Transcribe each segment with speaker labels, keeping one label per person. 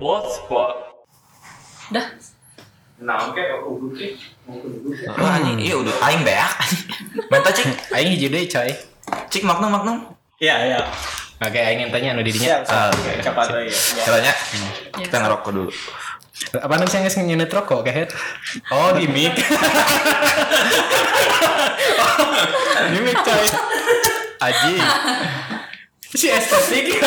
Speaker 1: hotspot.
Speaker 2: Dah.
Speaker 1: Nah, oke, aku butuh.
Speaker 3: Wah, anjing, iya udah aing beak anjing. Menta cik,
Speaker 4: Aing hiji deui coy.
Speaker 3: cik magnum magnum.
Speaker 4: Iya, iya. Oke, aing yang tanya anu di dinya. Ah, oke.
Speaker 1: Cepat aja. Ya.
Speaker 3: Caranya kita ngerokok dulu.
Speaker 4: Apa namanya saya ngasih nyenet rokok kayak Oh, di mic. di mic coy. Aji. Si estetik.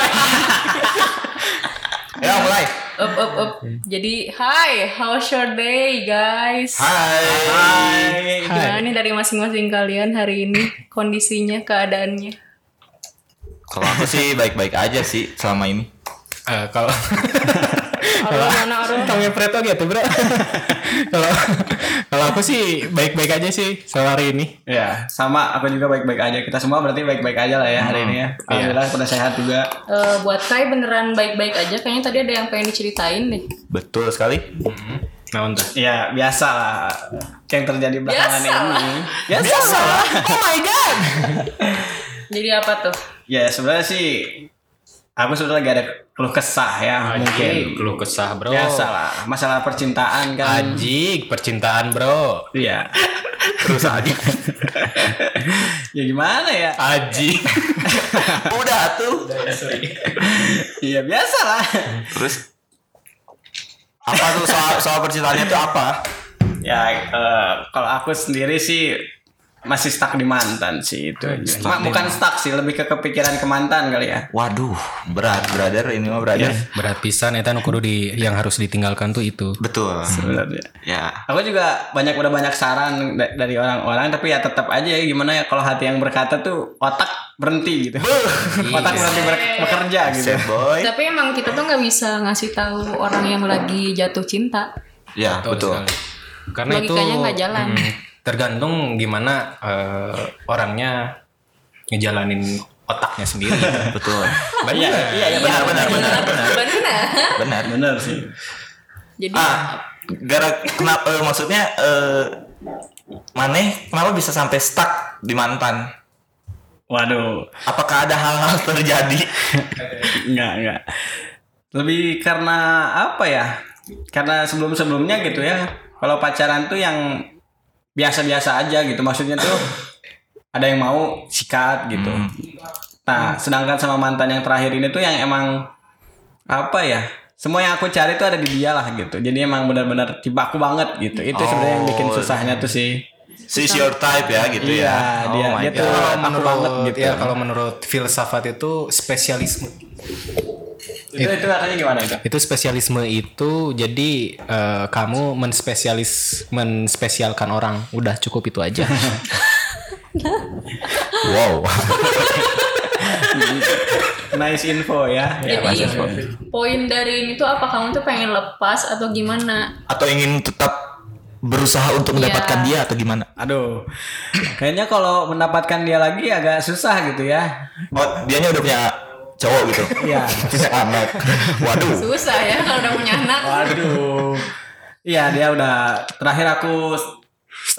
Speaker 3: Ya mulai.
Speaker 2: Up up up.
Speaker 5: Hmm.
Speaker 2: Jadi, hi, how's your day, guys?
Speaker 3: Hai.
Speaker 2: Gimana nih dari masing-masing kalian hari ini kondisinya, keadaannya?
Speaker 3: Kalau aku sih baik-baik aja sih selama ini.
Speaker 4: Eh, kalau
Speaker 2: Arul mana Arul?
Speaker 4: Tong ngepret oke tuh, Bro. Kalau kalau aku sih baik-baik aja sih selama hari ini.
Speaker 5: Ya, sama aku juga baik-baik aja. Kita semua berarti baik-baik aja lah ya hari ini ya. Alhamdulillah pada sehat juga.
Speaker 2: Eh, buat saya beneran baik-baik aja. Kayaknya tadi ada yang pengen diceritain deh.
Speaker 3: Betul sekali.
Speaker 4: Nah, entah.
Speaker 5: Ya, biasa lah yang terjadi belakangan
Speaker 2: Biasa lah.
Speaker 5: ini. Biasa, lah.
Speaker 2: Jadi apa tuh?
Speaker 5: Ya, sebenarnya sih aku sebenarnya lagi ada keluh kesah ya mungkin.
Speaker 4: Keluh kesah, Bro.
Speaker 5: Biasa lah, masalah percintaan kan.
Speaker 4: Anjing, percintaan, Bro.
Speaker 5: Iya.
Speaker 3: Terus aja.
Speaker 5: ya gimana ya?
Speaker 4: Aji.
Speaker 3: Udah tuh.
Speaker 5: Iya, biasa lah.
Speaker 3: Terus apa tuh soal soal percintaannya tuh apa?
Speaker 5: ya, eh, kalau aku sendiri sih masih stuck di mantan sih itu. Cuma bukan stuck sih, lebih ke kepikiran ke mantan kali ya.
Speaker 3: Waduh, berat brother ini mah brother.
Speaker 4: Berat pisan eta nu kudu di yang harus ditinggalkan tuh itu.
Speaker 3: Betul.
Speaker 5: Sebenarnya.
Speaker 3: Ya.
Speaker 5: Aku juga banyak udah banyak saran da- dari orang-orang tapi ya tetap aja ya gimana ya kalau hati yang berkata tuh otak berhenti gitu. otak berhenti ber- bekerja gitu.
Speaker 3: Sad boy.
Speaker 2: Tapi emang kita tuh nggak bisa ngasih tahu orang yang lagi jatuh cinta.
Speaker 3: Ya, betul.
Speaker 4: sekali. Karena
Speaker 2: Logikanya
Speaker 4: itu
Speaker 2: nggak jalan.
Speaker 4: mm, tergantung gimana eh, orangnya ngejalanin otaknya sendiri.
Speaker 3: Betul.
Speaker 4: Banyak.
Speaker 5: Iya, iya benar benar benar.
Speaker 2: Benar.
Speaker 3: Benar.
Speaker 5: Benar sih.
Speaker 2: Jadi
Speaker 3: Ah, gara kenapa eh, maksudnya eh Maneh kenapa bisa sampai stuck di mantan?
Speaker 5: Waduh,
Speaker 3: Apakah ada hal-hal terjadi?
Speaker 5: enggak enggak. Lebih karena apa ya? Karena sebelum-sebelumnya gitu ya. Kalau pacaran tuh yang biasa-biasa aja gitu. Maksudnya tuh ada yang mau sikat gitu.
Speaker 3: Hmm.
Speaker 5: Nah, sedangkan sama mantan yang terakhir ini tuh yang emang apa ya? Semua yang aku cari tuh ada di dia lah gitu. Jadi emang benar-benar tiba aku banget gitu. Itu sebenarnya yang
Speaker 3: Oh,
Speaker 5: bikin
Speaker 3: iya.
Speaker 5: susahnya tuh sih.
Speaker 3: She's your type ya gitu
Speaker 5: Iya,
Speaker 3: ya.
Speaker 5: dia
Speaker 3: my
Speaker 5: dia tuh
Speaker 3: God. Iya.
Speaker 5: aku banget
Speaker 4: Menurut
Speaker 5: gitu.
Speaker 4: ya kalau menurut filsafat itu spesialisme.
Speaker 5: Itu itu katanya gimana itu?
Speaker 4: Itu spesialisme itu jadi eh, kamu menspesialis menspesialkan orang. Udah cukup itu aja.
Speaker 3: Wow.
Speaker 5: Nice info ya.
Speaker 3: Iya.
Speaker 5: Ya,
Speaker 2: jadi
Speaker 5: masuk.
Speaker 2: poin dari ini tuh apa kamu tuh pengen lepas atau gimana?
Speaker 3: Atau ingin tetap berusaha untuk mendapatkan dia atau gimana?
Speaker 5: Aduh. Kayaknya kalau mendapatkan dia lagi agak susah gitu ya.
Speaker 3: Oh, dianya udah punya cowok gitu.
Speaker 5: Iya.
Speaker 3: Punya anak. Waduh.
Speaker 2: Susah ya kalau udah punya anak.
Speaker 5: Waduh. Iya, dia udah terakhir aku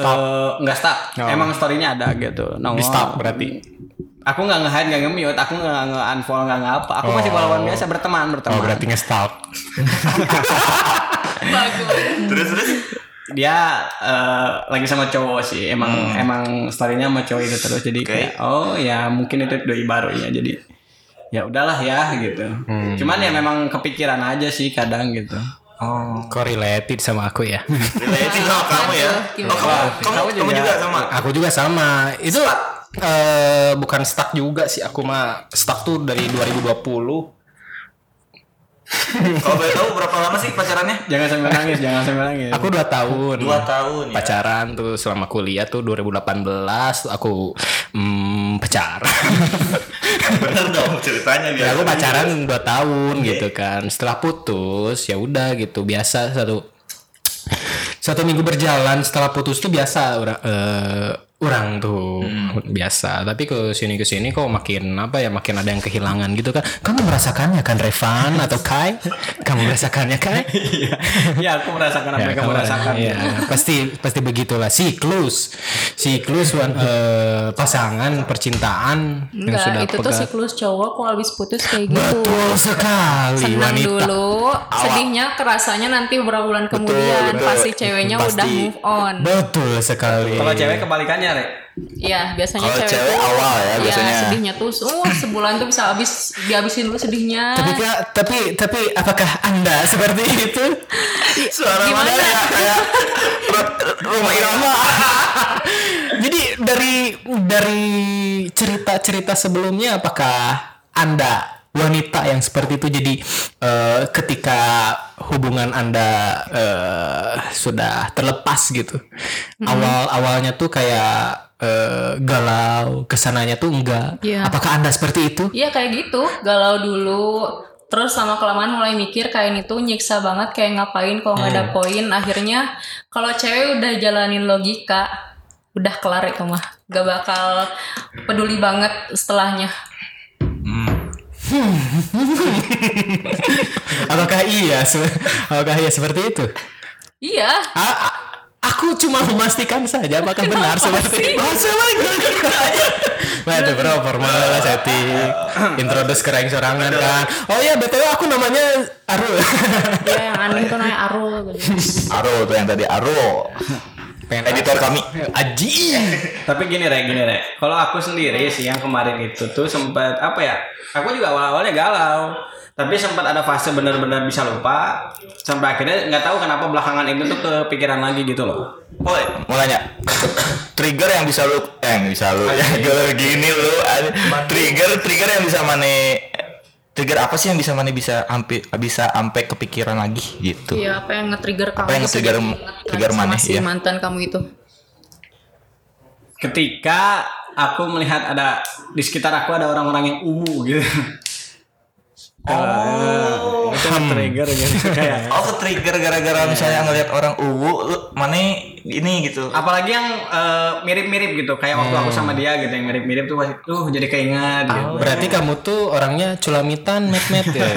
Speaker 5: eh, nggak stuck.
Speaker 4: Oh.
Speaker 5: Emang story-nya ada gitu. Nongol.
Speaker 4: Di stop berarti.
Speaker 5: Aku nggak nge-hide, nggak nge-mute, aku nggak nge-unfollow, nggak nge-apa. Aku masih followan biasa berteman,
Speaker 4: Oh,
Speaker 5: berteman.
Speaker 4: berarti nge-stalk.
Speaker 2: Bagus.
Speaker 3: Terus terus
Speaker 5: Dia eh, lagi sama cowok sih. Emang emang story-nya sama cowok itu terus jadi kayak oh ya mungkin itu doi baru ya. Jadi ya udahlah ya gitu. Cuman ya memang kepikiran aja sih kadang gitu.
Speaker 4: Kok related sama aku ya?
Speaker 3: related sama kamu ya.
Speaker 2: Gimana?
Speaker 3: Oh, kamu, kamu, kamu juga sama.
Speaker 4: Aku juga sama. Itu eh, bukan stuck juga sih aku mah. Stuck tuh dari 2020.
Speaker 3: Kalau boleh tahu berapa lama sih pacarannya?
Speaker 5: Jangan sambil nangis, jangan sambil nangis.
Speaker 4: Aku 2 tahun.
Speaker 3: Iya, Dua tahun ya.
Speaker 4: Pacaran tuh selama kuliah tuh 2018 tuh aku mm, pacaran.
Speaker 3: Bener dong ceritanya
Speaker 4: Ya,
Speaker 3: biar
Speaker 5: Iya.
Speaker 4: aku pacaran 2 tahun gitu kan. Setelah putus ya udah gitu biasa satu satu minggu berjalan setelah putus tuh biasa ora- eh, orang tuh
Speaker 5: Hmm.
Speaker 4: biasa tapi ke sini ke sini kok makin apa ya makin ada yang kehilangan gitu kan kamu merasakannya kan Revan atau Kai kamu merasakannya Kai
Speaker 5: ya aku merasakan apa
Speaker 4: Ya,
Speaker 5: yang kamu
Speaker 4: kamu-
Speaker 5: rasakan iya.
Speaker 4: ya, pasti pasti begitulah siklus siklus wan- eh, pasangan percintaan yang sudah
Speaker 2: Enggak, itu tuh
Speaker 4: pegat.
Speaker 2: siklus cowok kalau habis putus kayak gitu.
Speaker 4: betul sekali
Speaker 2: Senang
Speaker 4: wanita
Speaker 2: dulu, sedihnya kerasanya nanti beberapa bulan kemudian
Speaker 3: betul.
Speaker 2: pasti ceweknya
Speaker 3: Pasti.
Speaker 2: udah move on.
Speaker 4: betul sekali
Speaker 5: kalau cewek kebalikannya rek
Speaker 2: Iya, biasanya cewek,
Speaker 3: Kalau cewek
Speaker 2: tuh-
Speaker 3: awal ya,
Speaker 2: Iya,
Speaker 3: biasanya.
Speaker 2: sedihnya tuh uh, sebulan tuh bisa habis dihabisin dulu sedihnya.
Speaker 4: tapi
Speaker 3: kan
Speaker 4: Kak, tapi tapi apakah anda seperti itu
Speaker 3: Suara
Speaker 2: Gimana?
Speaker 3: mana ya? Kayak ru- rumah irama.
Speaker 4: jadi dari dari cerita cerita sebelumnya apakah anda wanita yang seperti itu jadi eh, ketika hubungan anda eh, sudah terlepas gitu
Speaker 2: Mm-hmm.
Speaker 4: awal awalnya tuh kayak eh, galau kesananya tuh enggak
Speaker 2: Iya.
Speaker 4: apakah anda seperti itu
Speaker 2: Iya kayak gitu, galau dulu. Terus sama kelamaan mulai mikir kain itu nyiksa banget kayak ngapain kalau nggak ada
Speaker 3: Hmm.
Speaker 2: poin. Akhirnya kalau cewek udah jalanin logika, udah kelar itu mah. Gak bakal peduli banget setelahnya.
Speaker 4: apakah iya se- apakah iya seperti itu
Speaker 2: Iya,
Speaker 4: A- a- Ah, aku cuma memastikan saja apakah benar seperti Oh, itu. Bahasa lagi. Waduh Nah, bro, formal lah setting. Introduce ke rank sorangan kan. Oh iya, BTW aku namanya Arul.
Speaker 2: iya yang aneh tuh namanya Arul. gitu.
Speaker 3: Aro tuh yang tadi Aro. Editor kami.
Speaker 4: Aji.
Speaker 5: tapi gini rek gini rek kalau aku sendiri sih yang kemarin itu tuh sempat apa ya aku juga awal awalnya galau tapi sempat ada fase benar-benar bisa lupa sampai akhirnya nggak tahu kenapa belakangan itu tuh kepikiran lagi gitu loh
Speaker 3: Boy, mau nanya. Trigger yang bisa lu eh yang bisa lu ya kalau gini lu aduh. trigger trigger yang bisa mane trigger apa sih yang bisa mane bisa ampe bisa ampe kepikiran lagi gitu.
Speaker 2: Iya, apa yang nge-trigger kamu?
Speaker 3: Apa yang nge-trigger-
Speaker 2: sedih banget
Speaker 3: trigger
Speaker 2: sama
Speaker 3: mana,
Speaker 2: si
Speaker 3: iya.
Speaker 2: mantan kamu itu.
Speaker 5: ketika aku melihat ada di sekitar aku ada orang-orang yang uwu gitu oh itu trigger gitu kayak
Speaker 3: Oh, ke trigger gara-gara misalnya ngelihat orang uwu lu mane ini gitu.
Speaker 2: Ah.
Speaker 5: apalagi yang eh, mirip-mirip gitu kayak waktu aku sama dia gitu yang mirip-mirip tuh pasti tuh jadi keinget gitu
Speaker 4: Berarti kamu tuh orangnya culamitan met-met ya.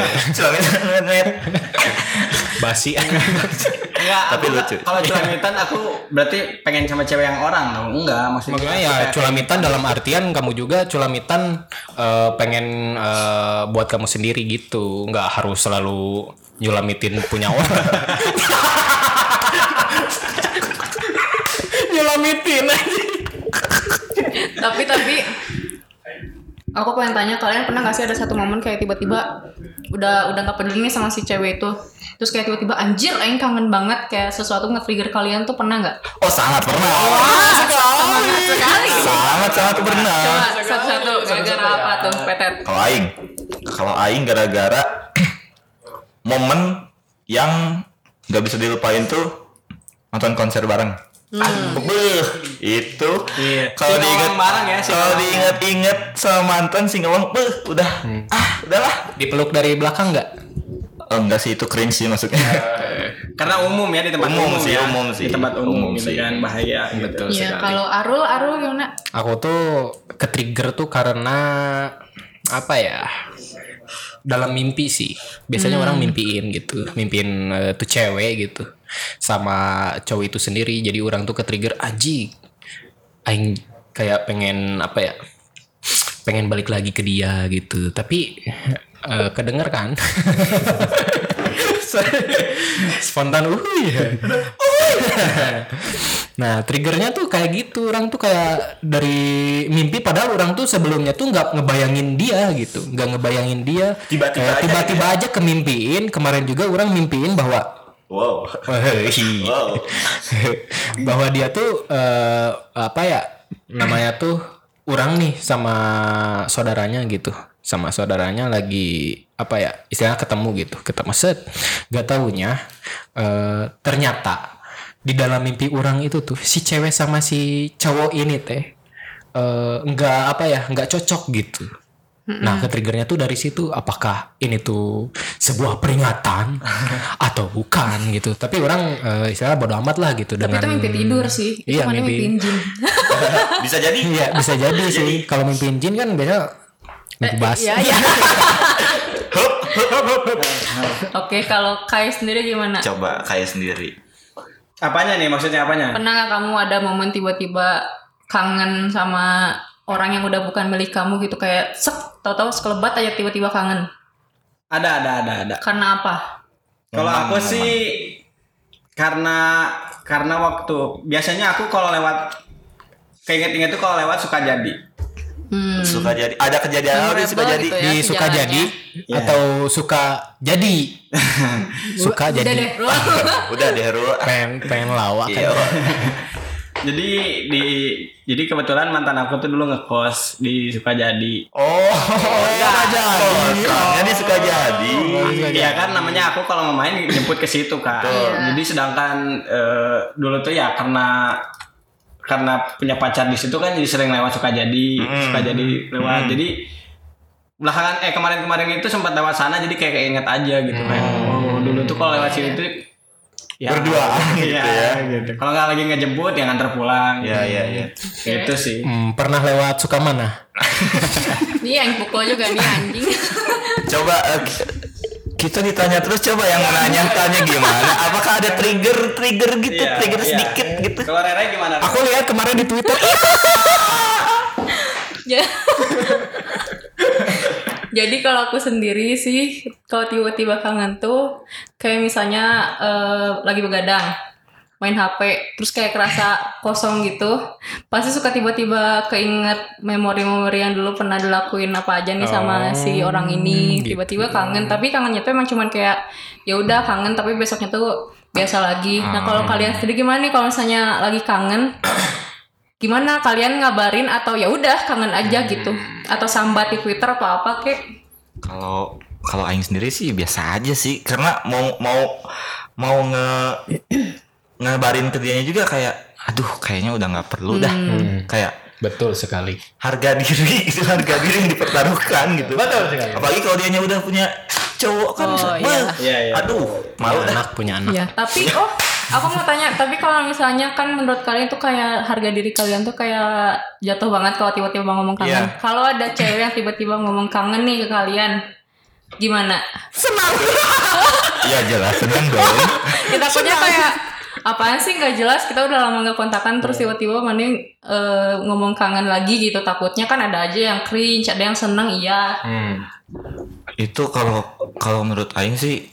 Speaker 4: Basi.
Speaker 5: Enggak,
Speaker 3: Tapi
Speaker 5: aku-
Speaker 3: lucu.
Speaker 5: Kalau culamitan aku berarti pengen sama cewek yang orang dong. Enggak, maksudnya.
Speaker 4: Makanya ya culamitan dalam artian kamu juga culamitan eh, pengen eh, buat kamu sendiri gitu. nggak harus selalu nyulamitin punya orang. nyulamitin aja.
Speaker 2: tapi tapi aku pengen tanya kalian pernah gak sih ada satu momen kayak tiba-tiba udah udah nggak peduli nih sama si cewek itu terus kayak tiba-tiba anjir aing kangen banget kayak sesuatu nge-trigger kalian tuh pernah nggak
Speaker 3: Oh, sangat pernah.
Speaker 2: Oh, sangat sekali
Speaker 3: Sangat sangat pernah.
Speaker 2: coba satu-satu gara-gara apa tuh petet
Speaker 3: kalau aing kalau aing gara-gara momen yang nggak bisa dilupain tuh nonton konser bareng Beuh, itu
Speaker 5: Hmm. Iya.
Speaker 3: kalau
Speaker 5: Singawang
Speaker 3: diinget
Speaker 5: bareng ya,
Speaker 3: kalau
Speaker 5: Singawang.
Speaker 3: diinget-inget sama mantan singawang beuh, udah ah udahlah
Speaker 4: Dipeluk dari belakang nggak?
Speaker 3: oh, enggak sih itu cringe sih maksudnya
Speaker 5: Karena umum ya di tempat
Speaker 3: Umum
Speaker 5: umum,
Speaker 3: sih,
Speaker 5: ya.
Speaker 3: umum sih.
Speaker 5: Di tempat umum,
Speaker 3: Umum
Speaker 5: gitu
Speaker 3: sih.
Speaker 5: kan bahaya gitu.
Speaker 2: Iya, kalau Arul, Arul gimana?
Speaker 4: Aku tuh ke trigger tuh karena apa ya? Dalam mimpi sih. Biasanya orang mimpiin gitu, mimpiin eh, tuh cewek gitu sama cowok itu sendiri. Jadi orang tuh ke trigger aji. Aing kayak pengen apa ya? Pengen balik lagi ke dia gitu. Tapi eh, kedenger kan? Spontan uh Nah, triggernya tuh kayak gitu. Orang tuh kayak dari mimpi padahal orang tuh sebelumnya tuh nggak ngebayangin dia gitu. nggak ngebayangin dia.
Speaker 3: Tiba-tiba aja
Speaker 4: Kayak
Speaker 3: gitu ya?
Speaker 4: tiba-tiba aja kemimpiin. Kemarin juga orang mimpiin bahwa
Speaker 3: wow iya. wow
Speaker 4: bahwa dia tuh eh, apa ya namanya tuh orang nih sama saudaranya gitu sama saudaranya lagi apa ya istilahnya ketemu gitu ketemu set gak taunya eh, ternyata di dalam mimpi orang itu tuh si cewek sama si cowok ini teh eh, nggak apa ya nggak cocok gitu Nah, ketriggernya tuh dari situ. Apakah ini tuh sebuah peringatan atau bukan gitu? Tapi orang eh, istilahnya bodo amat lah gitu
Speaker 2: Tapi itu
Speaker 4: dengan
Speaker 2: mimpi tidur sih. Itu
Speaker 4: Iya,
Speaker 2: mana
Speaker 4: mimpi.
Speaker 2: mimpi jin.
Speaker 3: bisa jadi
Speaker 4: Iya bisa jadi sih. Kalau mimpiin jin kan biasa mimpi bas.
Speaker 2: Iya, iya. Oke, kalau Kai sendiri gimana?
Speaker 3: coba kayak sendiri
Speaker 5: Apanya nih maksudnya apanya?
Speaker 2: Pernah nggak kamu ada momen tiba-tiba kangen sama orang yang udah bukan milik kamu gitu kayak sek tahu-tahu sekelebat aja tiba-tiba kangen
Speaker 5: Ada ada ada ada.
Speaker 2: karena apa
Speaker 5: Kalau
Speaker 3: Nyaman,
Speaker 5: aku
Speaker 3: nyaman.
Speaker 5: sih karena karena waktu biasanya aku kalau lewat keinget-inget tuh kalau lewat suka jadi.
Speaker 2: hmm.
Speaker 3: suka jadi ada kejadian apa
Speaker 2: Memorable
Speaker 3: yang
Speaker 5: Iya,
Speaker 3: suka jadi
Speaker 2: gitu ya,
Speaker 4: Di suka
Speaker 2: sejalannya.
Speaker 4: jadi atau suka jadi suka
Speaker 2: Udah
Speaker 4: Ah, jadi
Speaker 2: deh bro
Speaker 5: ya.
Speaker 3: udah deh Rul
Speaker 4: pengen pengen lawak
Speaker 3: iya
Speaker 4: kan.
Speaker 5: Jadi di jadi kebetulan mantan aku tuh dulu ngekos di Sukajadi.
Speaker 4: Oh, suka jadi.
Speaker 3: Orangnya dia suka jadi
Speaker 5: Iya kan namanya aku kalau mau main jemput ke situ kan.
Speaker 3: Iya.
Speaker 5: Jadi sedangkan eh, dulu tuh ya karena karena punya pacar di situ kan jadi sering lewat suka jadi
Speaker 3: Hmm.
Speaker 5: suka jadi lewat. Jadi belakangan eh kemarin-kemarin itu sempat lewat sana jadi kayak keinget aja gitu kan.
Speaker 3: Hmm.
Speaker 5: Oh, dulu tuh kalau lewat sini tuh ya,
Speaker 3: Berduaan gitu
Speaker 5: Iya,
Speaker 3: ya.
Speaker 5: gitu. Kalau nggak lagi ngejemput ya nganter pulang.
Speaker 3: Iya, iya, iya.
Speaker 5: Itu sih.
Speaker 4: Hmm, pernah lewat suka mana?
Speaker 2: nih yang pukul juga nih anjing
Speaker 3: coba eh, kita ditanya terus coba yang nanya tanya gimana apakah ada trigger trigger gitu
Speaker 5: Iya,
Speaker 3: trigger
Speaker 5: iya.
Speaker 3: sedikit gitu
Speaker 5: Kalau Rere gimana? Rere?
Speaker 4: Aku lihat kemarin di Twitter.
Speaker 2: Ja- Ya. Jadi kalau aku sendiri sih, kalau tiba-tiba kangen tuh, kayak misalnya eh, lagi begadang, main HP, terus kayak kerasa kosong gitu, pasti suka tiba-tiba keinget memori-memori yang dulu pernah dilakuin apa aja nih sama si orang ini, tiba-tiba kangen. Tapi kangennya tuh emang cuman kayak ya udah kangen, tapi besoknya tuh biasa lagi. Nah kalau kalian sendiri gimana nih kalau misalnya lagi kangen, gimana kalian ngabarin atau ya udah kangen
Speaker 3: Hmm.
Speaker 2: aja gitu atau sambat di Twitter atau apa kek
Speaker 3: kalau kalau aing sendiri sih biasa aja sih karena mau mau mau nge ngebarin ke dianya juga kayak aduh kayaknya udah nggak perlu dah
Speaker 5: Hmm.
Speaker 3: kayak
Speaker 4: Betul sekali.
Speaker 3: harga diri itu harga diri yang dipertaruhkan gitu
Speaker 4: Betul sekali.
Speaker 3: apalagi kalau dianya udah punya cowok kan
Speaker 2: Oh,
Speaker 3: wah,
Speaker 2: iya.
Speaker 5: Iya, iya.
Speaker 3: aduh malu dah
Speaker 4: anak punya anak.
Speaker 2: ya tapi oh aku mau tanya tapi kalau misalnya kan menurut kalian tuh kayak harga diri kalian tuh kayak jatuh banget kalau tiba-tiba ngomong kangen
Speaker 3: Iya.
Speaker 2: kalau ada cewek yang tiba-tiba ngomong kangen nih ke kalian gimana
Speaker 3: iya jelas seneng dong
Speaker 2: kita Ya, takutnya kayak apaan sih nggak jelas kita udah lama nggak kontakan terus
Speaker 3: Iya.
Speaker 2: tiba-tiba mending eh, ngomong kangen lagi gitu takutnya kan ada aja yang cringe ada yang seneng iya
Speaker 3: Hmm. itu kalau kalau menurut aing sih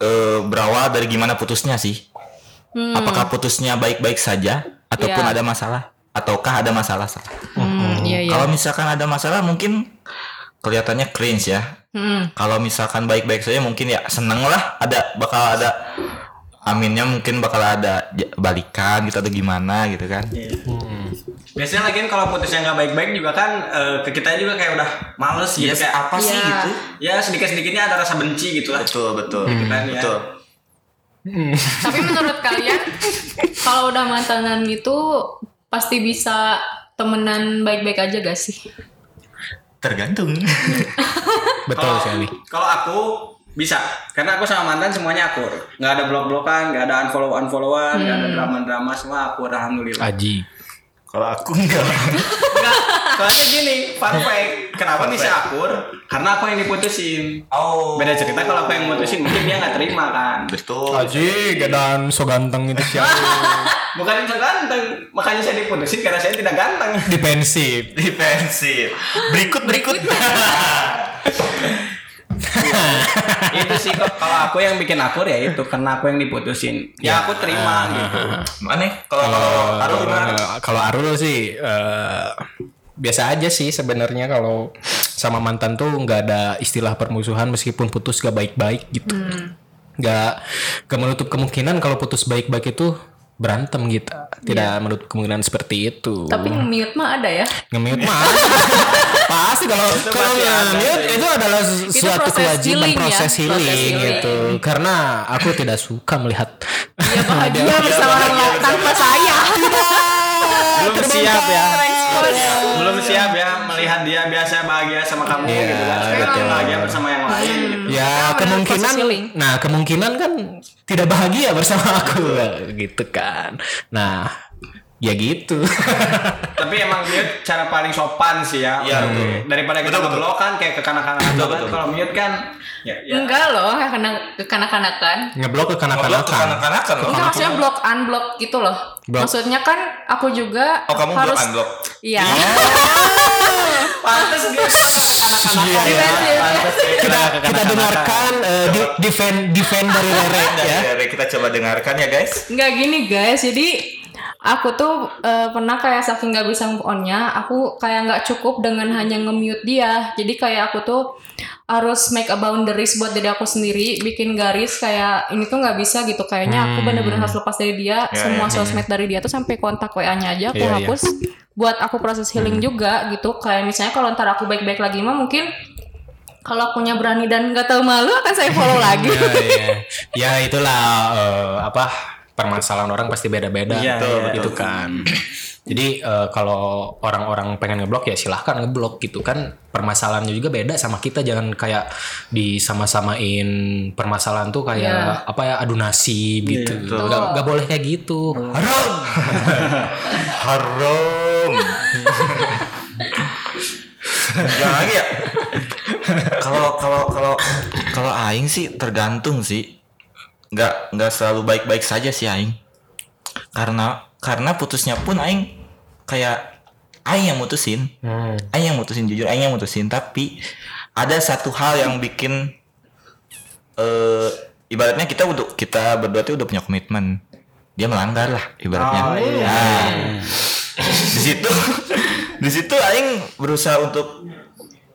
Speaker 3: eh, berawal dari gimana putusnya sih
Speaker 2: Hmm.
Speaker 3: apakah putusnya baik-baik saja ataupun
Speaker 2: Iya.
Speaker 3: ada masalah ataukah ada masalah
Speaker 2: Hmm, iya iya
Speaker 3: Kalau misalkan ada masalah mungkin kelihatannya cringe ya.
Speaker 2: Hmm.
Speaker 3: Kalau misalkan baik-baik saja mungkin ya seneng lah ada bakal ada aminnya mungkin bakal ada j- balikan gitu atau gimana gitu kan.
Speaker 5: Iya. Biasanya lagi kan kalau putusnya nggak baik-baik juga kan eh, ke kita juga kayak udah males gitu
Speaker 3: Yes,
Speaker 5: kayak
Speaker 3: apa sih
Speaker 2: Iya.
Speaker 3: gitu?
Speaker 5: ya sedikit-sedikitnya ada rasa benci gitu kan ya. lah.
Speaker 3: Betul betul
Speaker 5: Betul.
Speaker 3: betul.
Speaker 2: Tapi menurut kalian kalau udah mantanan gitu pasti bisa temenan baik-baik aja gak sih?
Speaker 3: Tergantung.
Speaker 4: Betul
Speaker 5: Kalau
Speaker 4: sekali.
Speaker 5: kalau aku bisa karena aku sama mantan semuanya akur nggak ada blok-blokan nggak ada unfollow unfollowan nggak ada drama-drama semua aku alhamdulillah
Speaker 4: Aji.
Speaker 3: Kalau aku enggak.
Speaker 5: Nggak, soalnya gini perfect kenapa bisa akur karena aku yang diputusin
Speaker 3: Oh.
Speaker 5: beda cerita kalau aku yang mutusin mungkin dia nggak terima kan
Speaker 3: Betul.
Speaker 4: Aji, dan so ganteng itu siapa?
Speaker 5: bukan saya ganteng makanya saya diputusin karena saya tidak ganteng
Speaker 4: Defensif.
Speaker 3: Defensif. Berikut berikut.
Speaker 5: itu sih kok. kalau aku yang bikin akur ya itu karena aku yang diputusin ya aku
Speaker 1: Ah,
Speaker 5: terima gitu
Speaker 3: Mana? Kalau kalau Arul gimana?
Speaker 4: Eh, Kalau Arul sih eh, biasa aja sih sebenarnya kalau sama mantan tuh nggak ada istilah permusuhan meskipun putus gak baik-baik gitu. Nggak nggak menutup kemungkinan kalau putus baik-baik itu berantem gitu. Tidak menutup kemungkinan seperti itu.
Speaker 2: Tapi nge-mute mah ada ya.
Speaker 4: Nge-mute mah pasti kalau kalau
Speaker 5: pasti ada
Speaker 4: nge-mute itu adalah su- suatu
Speaker 2: proses
Speaker 4: kewajiban
Speaker 2: healing ya,
Speaker 4: proses
Speaker 2: proses
Speaker 4: healing
Speaker 2: healing.
Speaker 4: gitu karena aku tidak suka melihat
Speaker 2: Dia Iya, bahagia bersama orang tanpa
Speaker 3: Ya,
Speaker 2: saya.
Speaker 5: belum siap ya belum siap ya melihat dia biasa bahagia sama kamu
Speaker 1: Iya,
Speaker 5: gitu kan sekarang dia bahagia bersama yang lain gitu
Speaker 4: ya
Speaker 2: Karena proses
Speaker 4: kemungkinan
Speaker 2: healing.
Speaker 4: nah kemungkinan kan tidak bahagia bersama aku gitu kan nah ya gitu
Speaker 5: Tapi emang mute cara paling sopan sih ya.
Speaker 1: Iya,
Speaker 5: untuk-
Speaker 1: betul.
Speaker 5: Daripada kita
Speaker 1: Betul, betul.
Speaker 5: ngeblok kan kayak ke kanak-kanak
Speaker 1: Betul,
Speaker 5: kan.
Speaker 1: betul.
Speaker 5: Kalau mute kan ya, ya.
Speaker 2: Enggak loh, kekanak- kekanak-kanakan.
Speaker 4: ngeblok ke
Speaker 3: Ngobrol ke
Speaker 4: kanak-kanakan
Speaker 3: kanak-kanakan loh.
Speaker 2: Enggak maksudnya block unblock gitu loh.
Speaker 4: Block.
Speaker 2: Maksudnya kan aku juga
Speaker 3: Oh kamu
Speaker 2: harus
Speaker 3: blok unblock.
Speaker 2: Iya.
Speaker 5: Pantes dia
Speaker 3: Oh, iya.
Speaker 2: Terima kasih.
Speaker 4: Iya. kita kita dengarkan eh, di- defend defend dari Rere ya
Speaker 3: Ya, Rere, kita coba dengarkan ya guys.
Speaker 2: Enggak gini guys, jadi aku tuh eh, pernah kayak saking nggak bisa move on-nya, aku kayak nggak cukup dengan hanya nge-mute dia. Jadi kayak aku tuh harus make a boundaries buat diri aku sendiri, bikin garis kayak ini tuh nggak bisa gitu. Kayaknya
Speaker 4: Hmm.
Speaker 2: aku bener-bener harus lepas dari dia, semua sosmed dari dia tuh sampai kontak WA-nya aja aku
Speaker 4: Ya, Iya, Hmm. iya.
Speaker 2: hapus buat aku proses healing juga gitu. Kayak misalnya kalau ntar aku baik-baik lagi mah mungkin kalau akunya berani dan nggak tahu malu akan saya follow lagi.
Speaker 4: ya, ya. Ya, itulah eh, apa permasalahan orang pasti beda-beda
Speaker 5: Iya,
Speaker 4: gitu,
Speaker 5: iya.
Speaker 4: gitu kan. Jadi eh, kalau orang-orang pengen ngeblok ya silahkan ngeblok gitu kan. Permasalahannya juga beda sama kita jangan kayak disama-samain permasalahan tuh
Speaker 2: Iya.
Speaker 4: kayak apa ya adu nasib gitu.
Speaker 2: betul.
Speaker 4: Gak, gak boleh kayak gitu.
Speaker 3: Haram. Haram. Jangan lagi ya. Kalau kalau kalau kalau aing sih tergantung sih. Nggak nggak selalu baik-baik saja sih aing. Karena karena putusnya pun aing kayak aing yang mutusin.
Speaker 4: Hmm.
Speaker 3: Aing yang mutusin jujur Aing yang mutusin tapi ada satu hal yang bikin eh ibaratnya kita untuk kita berdua tuh udah punya komitmen dia melanggar lah ibaratnya
Speaker 5: Oh, iya.
Speaker 3: Nah, di situ di situ Aing berusaha untuk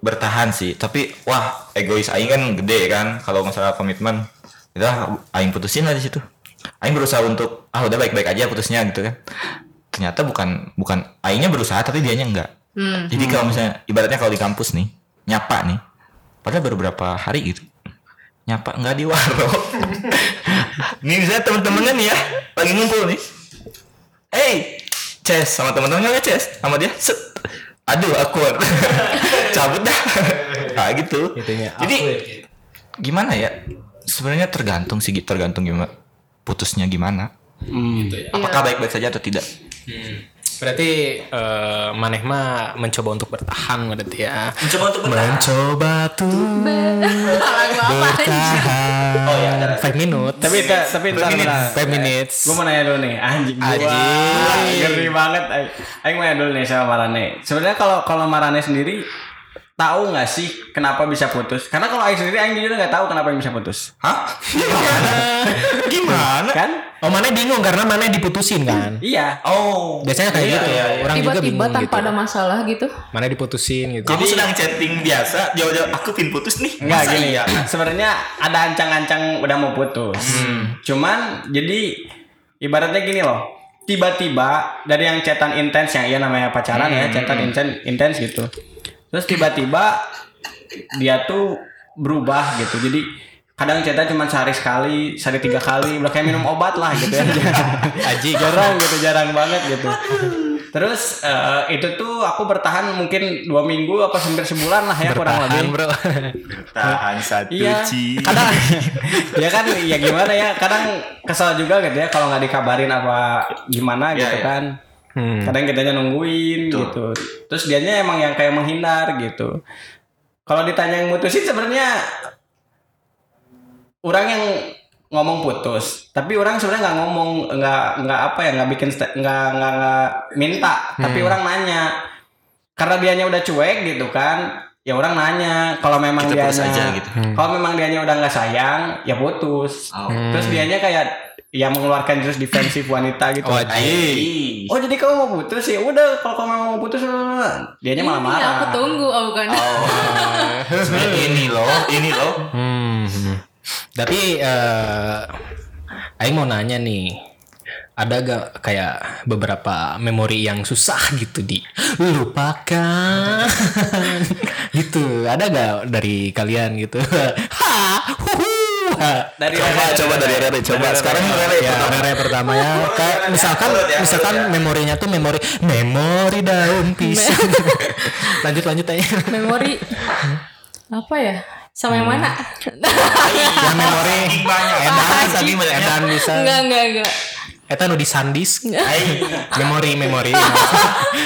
Speaker 3: bertahan sih tapi wah egois Aing kan gede kan kalau masalah komitmen udah Aing putusin lah di situ Aing berusaha untuk ah udah baik-baik aja putusnya gitu kan ternyata bukan bukan Aingnya berusaha tapi dianya enggak
Speaker 2: Hmm.
Speaker 3: jadi kalau misalnya ibaratnya kalau di kampus nih nyapa nih, padahal baru berapa hari gitu nyapa nggak di warung. nih misalnya temen-temennya nih ya lagi ngumpul nih, hey Ces sama temen-temennya nggak Ces sama dia set aduh awkward cabut dah nah gitu
Speaker 4: Itunya,
Speaker 3: jadi
Speaker 4: awkward.
Speaker 3: gimana ya sebenarnya tergantung sih tergantung gimana putusnya gimana
Speaker 4: Gitu ya.
Speaker 3: apakah baik-baik saja atau tidak
Speaker 4: hmm. Berarti eh, maneh mah mencoba untuk bertahan berarti ya.
Speaker 1: Mencoba untuk bertahan.
Speaker 4: Mencoba tuh
Speaker 2: Lagu apa anjing?
Speaker 4: Oh ya, 5 minutes.
Speaker 5: iya, Tapi ta- tapi entar lah.
Speaker 4: 5 minutes.
Speaker 5: Gue mau nanya dulu nih, anjing gua.
Speaker 4: Anjing.
Speaker 5: Ngeri banget. Aing- Aing mau nanya dulu nih sama Marane. Sebenarnya kalau kalau Marane sendiri tahu nggak sih kenapa bisa putus? Karena kalau Aing sendiri Aing juga nggak tahu kenapa yang bisa putus.
Speaker 3: hah gimana
Speaker 5: Kan?
Speaker 4: Oh, mana bingung karena mana diputusin kan.
Speaker 5: Iya.
Speaker 3: oh
Speaker 4: Biasanya kayak gitu. Orang juga
Speaker 2: tiba-tiba
Speaker 4: bingung
Speaker 2: tanpa ada
Speaker 4: gitu.
Speaker 2: masalah gitu
Speaker 4: Mana diputusin gitu.
Speaker 3: Kamu sedang chatting biasa, jauh-jauh aku pin putus nih.
Speaker 5: Enggak
Speaker 3: Masa
Speaker 5: gini
Speaker 3: iya?
Speaker 5: ya. Sebenarnya ada ancang-ancang udah mau putus.
Speaker 3: Hmm.
Speaker 5: Cuman jadi ibaratnya gini loh. Tiba-tiba dari yang cetan intens yang iya namanya pacaran ya,
Speaker 3: Hmm,
Speaker 5: cetan intens intens gitu. Terus tiba-tiba dia tuh berubah gitu. Jadi kadang cetan cuma sehari sekali, sehari tiga kali, udah kayak minum obat lah gitu ya. Aji jarang gitu, jarang banget gitu. Terus eh, itu tuh aku bertahan mungkin dua minggu apa hampir sebulan lah ya kurang lebih.
Speaker 4: Tahan, Bro.
Speaker 3: Tahan satu
Speaker 5: Iya.
Speaker 3: ci.
Speaker 5: Kadang ya kan ya gimana ya, kadang kesal juga gitu ya kalau nggak dikabarin apa gimana
Speaker 3: Iya,
Speaker 5: gitu
Speaker 3: iya.
Speaker 5: kan.
Speaker 4: Hmm.
Speaker 5: Kadang kitanya nungguin
Speaker 3: Betul.
Speaker 5: gitu. Terus dianya emang yang kayak menghindar gitu. Kalau ditanya yang mutusin sebenarnya orang yang ngomong putus, tapi orang sebenarnya nggak ngomong, nggak nggak apa ya, nggak bikin sta- nggak nggak nggak minta, tapi
Speaker 3: Hmm.
Speaker 5: orang nanya. Karena dianya udah cuek gitu kan, ya orang nanya. Kalau memang
Speaker 3: Kita
Speaker 5: dianya Hmm.
Speaker 3: putus aja gitu.
Speaker 5: kalau memang dianya udah nggak sayang, ya putus.
Speaker 3: Oh. Hmm.
Speaker 5: Terus dianya kayak ya mengeluarkan jurus defensif wanita gitu.
Speaker 4: Oh,
Speaker 5: Oh,
Speaker 4: Aji.
Speaker 5: jadi kamu mau putus ya? Udah, kalau kamu memang mau putus, eh, dianya malah
Speaker 2: Iya,
Speaker 5: marah.
Speaker 2: aku tunggu oh bukan
Speaker 3: Sebenarnya ini loh, ini loh.
Speaker 4: Hmm. Tapi eh aing mau nanya nih. Ada gak kayak beberapa memori yang susah gitu dilupakan gitu ada gak dari kalian gitu ha huhu, ha.
Speaker 5: Dari
Speaker 3: Coba coba dari Rere, coba sekarang Rere
Speaker 4: ya
Speaker 3: pertama.
Speaker 4: Rere pertama ya kayak misalkan
Speaker 3: Urut ya, urut
Speaker 4: misalkan
Speaker 3: ya.
Speaker 4: memorinya tuh memori memori daun pisang lanjut lanjut aja
Speaker 2: memori apa ya sama yang
Speaker 4: Hmm.
Speaker 2: mana
Speaker 4: yang memori
Speaker 3: Banyak edan,
Speaker 2: Apaan sih?
Speaker 3: tadi banyak edan.
Speaker 4: dan bisa
Speaker 2: enggak enggak enggak
Speaker 4: Eta nu disandis memori memori.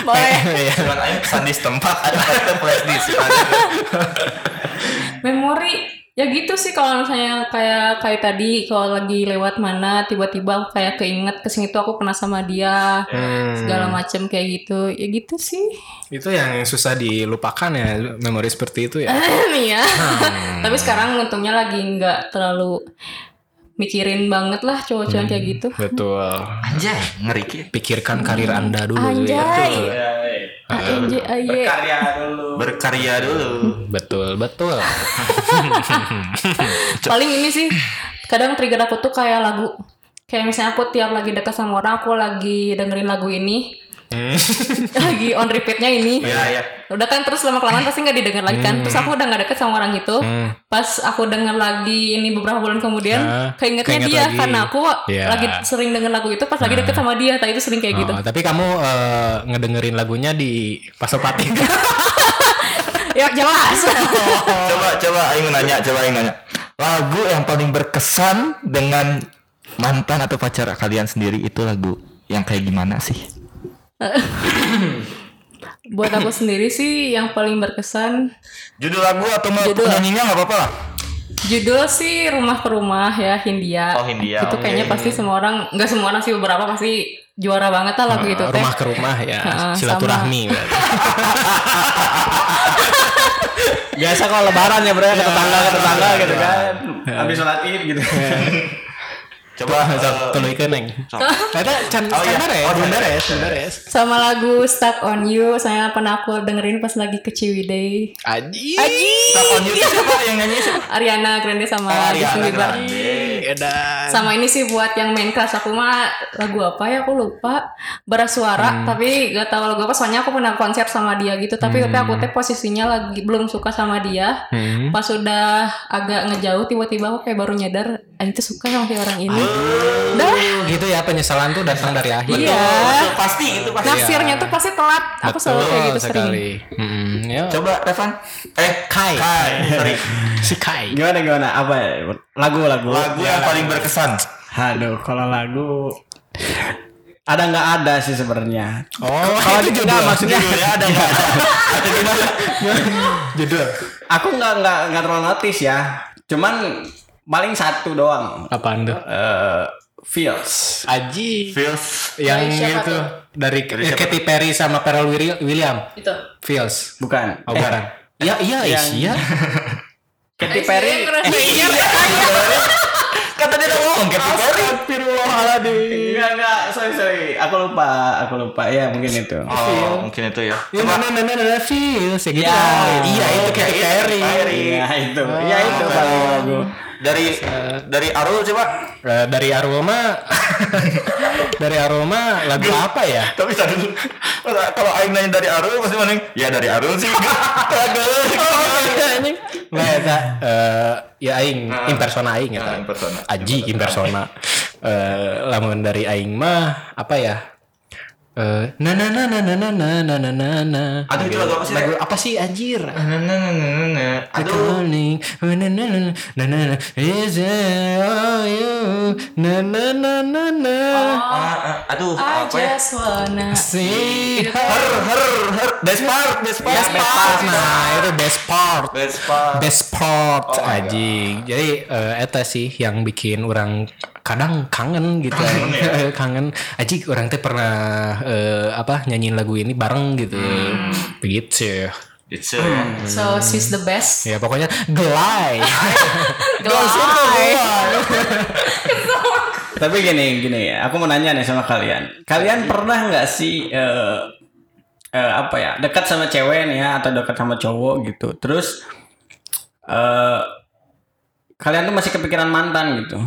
Speaker 2: Boleh.
Speaker 4: Iya.
Speaker 3: Cuman aing sandis tempat ada kartu flash disk.
Speaker 2: Memori ya gitu sih kalau misalnya kayak kayak tadi kalau lagi lewat mana tiba-tiba aku kayak keinget kesini tuh aku pernah sama dia
Speaker 4: Hmm.
Speaker 2: segala macem kayak gitu ya gitu sih
Speaker 4: Itu yang susah dilupakan ya memori seperti itu ya.
Speaker 2: nih ya
Speaker 4: Hmm.
Speaker 2: tapi sekarang untungnya lagi nggak terlalu mikirin banget lah cowok-cowok kayak
Speaker 4: Hmm.
Speaker 2: gitu
Speaker 4: Betul.
Speaker 3: Anjay, ngeri ki.
Speaker 4: Pikirkan karir Anda dulu
Speaker 2: Hmm.
Speaker 4: ya.
Speaker 2: anjay anjay
Speaker 5: Berkarya dulu.
Speaker 3: Berkarya dulu.
Speaker 4: Betul, betul.
Speaker 2: paling ini sih kadang trigger aku tuh kayak lagu kayak misalnya aku tiap lagi dekat sama orang aku lagi dengerin lagu ini
Speaker 4: Hmm.
Speaker 2: lagi on repeatnya ini
Speaker 3: Ya ya.
Speaker 2: udah kan terus lama kelamaan pasti nggak didengar lagi kan terus aku udah nggak deket sama orang itu
Speaker 4: Hmm.
Speaker 2: pas aku denger lagi ini beberapa bulan kemudian
Speaker 4: Nah,
Speaker 2: keingetnya
Speaker 4: keinget
Speaker 2: dia
Speaker 4: lagi.
Speaker 2: karena aku
Speaker 4: Iya. Hmm.
Speaker 2: lagi sering denger lagu itu pas lagi deket sama dia tadi itu sering kayak gitu
Speaker 4: Oh, tapi kamu eh, ngedengerin lagunya di Pasopati.
Speaker 2: ya jelas
Speaker 3: Coba coba aing nanya, coba aing nanya. Lagu yang paling berkesan dengan mantan atau pacar kalian sendiri itu lagu yang kayak gimana sih?
Speaker 2: buat aku sendiri sih yang paling berkesan
Speaker 3: Judul lagu atau mau
Speaker 2: Judul.
Speaker 3: penyanyinya nggak apa-apa lah.
Speaker 2: judul sih rumah ke rumah ya Hindia
Speaker 3: Oh, Hindia,
Speaker 2: itu kayaknya pasti semua orang nggak semua orang sih beberapa pasti juara banget lah lagu itu Eh, teh
Speaker 4: rumah ke rumah ya,
Speaker 2: Heeh,
Speaker 4: silaturahmi. berarti.
Speaker 5: Biasa kalau lebaran ya bro, ke tetangga ke tetangga gitu kan. Habis sholat id gitu.
Speaker 3: Coba
Speaker 4: Sok,
Speaker 3: eh,
Speaker 4: tuluy ke neng. Eta can
Speaker 3: Oh, iya.
Speaker 4: can beres,
Speaker 3: Oh,
Speaker 4: can
Speaker 3: iya.
Speaker 4: beres, can beres.
Speaker 2: sama lagu Stuck on You saya pernah aku dengerin pas lagi ke Ciwidey
Speaker 4: Aji.
Speaker 3: Stop
Speaker 4: Iya.
Speaker 3: on you siapa yang nyanyi siapa?
Speaker 2: Ariana Grande sama Justin
Speaker 4: Ah,
Speaker 3: Eh, Ariana
Speaker 2: Bieber.
Speaker 3: Grande.
Speaker 4: Iya, Edan.
Speaker 2: Sama ini sih buat yang main kelas aku mah lagu apa ya aku lupa beras suara tapi gak tahu lagu apa soalnya aku pernah konser sama dia gitu tapi tapi aku teh posisinya lagi belum suka sama dia
Speaker 4: Hmm.
Speaker 2: pas sudah agak ngejauh tiba-tiba aku kayak baru nyadar "Anjing tuh suka sama si orang ini dah
Speaker 4: Gitu ya penyesalan tuh datang dari akhir.
Speaker 2: iya
Speaker 3: Betul, ya. Pasti itu pasti.
Speaker 2: naksirnya tuh pasti telat aku selalu kayak gitu sering
Speaker 4: sekali. Mm, ya.
Speaker 3: Coba Revan. Eh
Speaker 4: Kai.
Speaker 3: Kai, sorry.
Speaker 4: Si Kai.
Speaker 5: Gimana gimana? Apa? ya? Lagu lagu.
Speaker 3: Ya, Lagu yang paling berkesan.
Speaker 5: Aduh, kalau lagu ada nggak ada sih sebenarnya.
Speaker 4: Oh,
Speaker 5: Kalau di enggak maksudnya
Speaker 3: Judulnya
Speaker 4: ya,
Speaker 3: ada nggak ada?
Speaker 4: Iya.
Speaker 3: Atau gimana?
Speaker 4: judul.
Speaker 5: aku nggak nggak nggak terlalu notice ya. Cuman paling satu doang.
Speaker 4: Apaan tuh?
Speaker 5: Eh, feels.
Speaker 4: Aji.
Speaker 3: Feels.
Speaker 4: Yang
Speaker 2: Dari siapa
Speaker 4: itu
Speaker 2: tuh?
Speaker 4: dari, eh, Katy Perry sama Pharrell Willi- William.
Speaker 2: itu
Speaker 4: Feels.
Speaker 5: Bukan.
Speaker 4: Oh, bukan. Iya, iya,
Speaker 5: yang-
Speaker 4: is, iya.
Speaker 5: Katy Perry.
Speaker 4: Eh.
Speaker 2: gitu.
Speaker 3: Kata dia udah
Speaker 4: "Oh,
Speaker 3: ngomong Katy Perry.
Speaker 5: Enggak enggak, Eh, sorry sorry. Aku lupa, aku lupa. Ya mungkin itu.
Speaker 3: Oh, mungkin itu ya.
Speaker 4: Ya, mana, mana, mana, feels. Ya, gitu.
Speaker 5: Ya,
Speaker 4: lah.
Speaker 3: Iya, itu Katy Perry.
Speaker 5: Iya itu. Iya itu paling lagu.
Speaker 3: Dari dari Arul coba.
Speaker 4: Eh, dari aroma dari aroma lagu apa ya
Speaker 3: Tapi tadi dulu. kalau Aing nanya dari Arul pasti mana? Ya dari Arul sih. Kagak.
Speaker 4: Nggak, eta, eh, ya aing impersona aing
Speaker 3: Ah,
Speaker 4: eta.
Speaker 3: impersona.
Speaker 4: aji impersona Eh, lamun dari aing mah apa ya Eh, na na na na na na na na na na na
Speaker 3: Aduh, itu lagu apa sih,
Speaker 4: Lagu
Speaker 3: Rek?
Speaker 4: apa sih anjir
Speaker 3: Aduh.
Speaker 4: Calling, na na na na na na na is it all you na na na na na
Speaker 3: Ah, ah,
Speaker 2: Oh,
Speaker 3: Aduh,
Speaker 2: I
Speaker 3: apa ya?
Speaker 2: just wanna
Speaker 4: see
Speaker 3: Her, her, her. Despart, despart.
Speaker 4: Iya, best part nah itu best part Oh
Speaker 3: Despart.
Speaker 4: best part anjing. Jadi eh, eta sih yang bikin orang kadang kangen gitu. Kangen, Aji orang teh pernah eh, apa nyanyiin lagu ini bareng gitu. Begitu.
Speaker 3: It's a ya.
Speaker 2: so she's the best
Speaker 4: Ya pokoknya gelai.
Speaker 2: Gelai.
Speaker 5: Tapi gini gini, aku mau nanya nih sama kalian. Kalian pernah nggak sih eh eh, apa ya dekat sama cewek nih ya atau dekat sama cowok gitu? Terus eh kalian tuh masih kepikiran mantan gitu?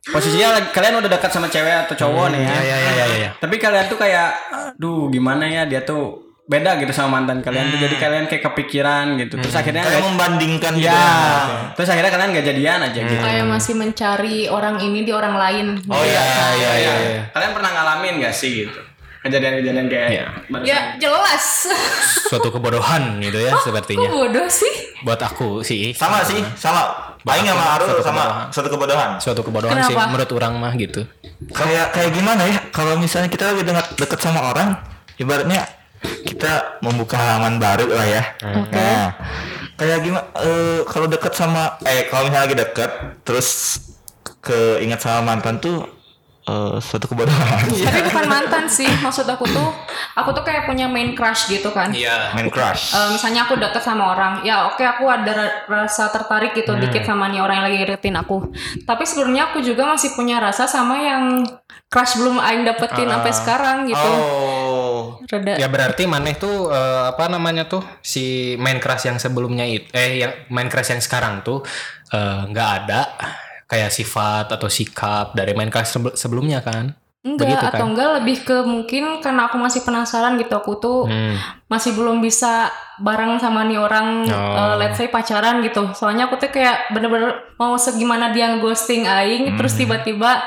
Speaker 5: Posisinya lagi- kalian udah dekat sama cewek atau cowok nih ya?
Speaker 4: ya ya ya ya ya. ya.
Speaker 5: Tapi kalian tuh kayak, aduh gimana ya dia tuh beda gitu sama mantan kalian tuh. Jadi kalian kayak kepikiran gitu. Terus akhirnya
Speaker 3: Kayak
Speaker 5: nggak-
Speaker 3: membandingkan gitu
Speaker 5: ya,
Speaker 3: ya.
Speaker 5: terus akhirnya kalian gak jadian aja gitu.
Speaker 2: kayak
Speaker 4: Hmm.
Speaker 2: masih mencari orang ini di orang lain
Speaker 3: Oh iya, iya, iya.
Speaker 4: iya.
Speaker 5: Kalian pernah ngalamin gak sih gitu? Kejadian-kejadian kayak
Speaker 4: Iya.
Speaker 5: barusan.
Speaker 2: ya jelas
Speaker 4: Suatu kebodohan gitu ya
Speaker 2: kok
Speaker 4: sepertinya
Speaker 2: bodoh sih
Speaker 4: buat aku sih.
Speaker 3: Sama sih, sama. Aing sama
Speaker 4: Bahkan
Speaker 3: Arul
Speaker 4: suatu
Speaker 3: sama
Speaker 4: kebodohan.
Speaker 3: suatu kebodohan.
Speaker 4: suatu kebodohan sih
Speaker 2: Kenapa?
Speaker 4: menurut orang mah gitu.
Speaker 3: Kayak kayak gimana ya? Kalau misalnya kita lagi deket, deket sama orang, ibaratnya kita membuka halaman baru lah ya. Nah, kayak gimana? eh, kalau deket sama eh kalau misalnya lagi deket, terus keinget sama mantan tuh eh, suatu kebodohan.
Speaker 4: Iya.
Speaker 2: Tapi bukan mantan sih, maksud aku tuh, aku tuh kayak punya main crush gitu kan.
Speaker 4: Iya.
Speaker 3: Main crush.
Speaker 2: Eh, misalnya aku deket sama orang, ya oke aku ada ra- rasa tertarik gitu
Speaker 4: Hmm.
Speaker 2: dikit sama nih orang yang lagi ngiritin aku. Tapi sebenarnya aku juga masih punya rasa sama yang crush belum aing dapetin sampai sekarang gitu.
Speaker 3: Oh.
Speaker 2: Reda.
Speaker 4: Ah. Ya berarti maneh tuh eh, apa namanya tuh si main crush yang sebelumnya itu eh yang main crush yang sekarang tuh eh, nggak ada kayak sifat atau sikap dari main crush sebel- sebelumnya kan?
Speaker 2: Enggak,
Speaker 4: Begitu,
Speaker 2: atau
Speaker 4: kan?
Speaker 2: enggak lebih ke mungkin karena aku masih penasaran gitu aku tuh
Speaker 4: Hmm.
Speaker 2: masih belum bisa bareng sama nih orang eh,
Speaker 4: Oh.
Speaker 2: let's say pacaran gitu. Soalnya aku tuh kayak bener-bener mau segimana dia ghosting aing terus
Speaker 4: Hmm.
Speaker 2: tiba-tiba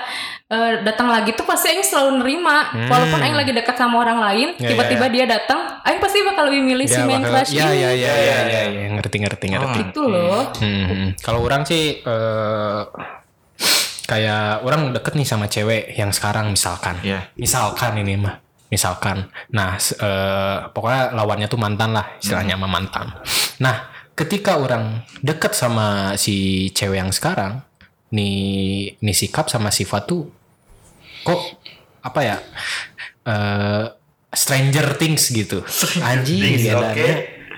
Speaker 2: eh, datang lagi tuh pasti aing selalu nerima. Walaupun aing lagi dekat sama orang lain,
Speaker 4: Hmm. Ya,
Speaker 2: tiba-tiba dia datang, aing pasti bakal lebih milih si
Speaker 4: Dia
Speaker 2: main
Speaker 4: bakal-
Speaker 2: crush ini.
Speaker 4: ya,
Speaker 2: Iya.
Speaker 4: ya, ya, ya, ya, ya, ngerti, ngerti, ngerti.
Speaker 2: Gitu loh.
Speaker 4: Hmm, kalau orang sih eh, kayak orang deket nih sama cewek yang sekarang misalkan,
Speaker 3: Iya.
Speaker 4: misalkan ini mah, misalkan. Nah, s- eh, pokoknya lawannya tuh mantan lah, istilahnya
Speaker 3: Hmm.
Speaker 4: sama mantan. Nah, ketika orang deket sama si cewek yang sekarang, nih nih sikap sama sifat tuh kok apa ya? eh Stranger Things gitu, anjing
Speaker 3: Things,
Speaker 4: ya
Speaker 3: oke.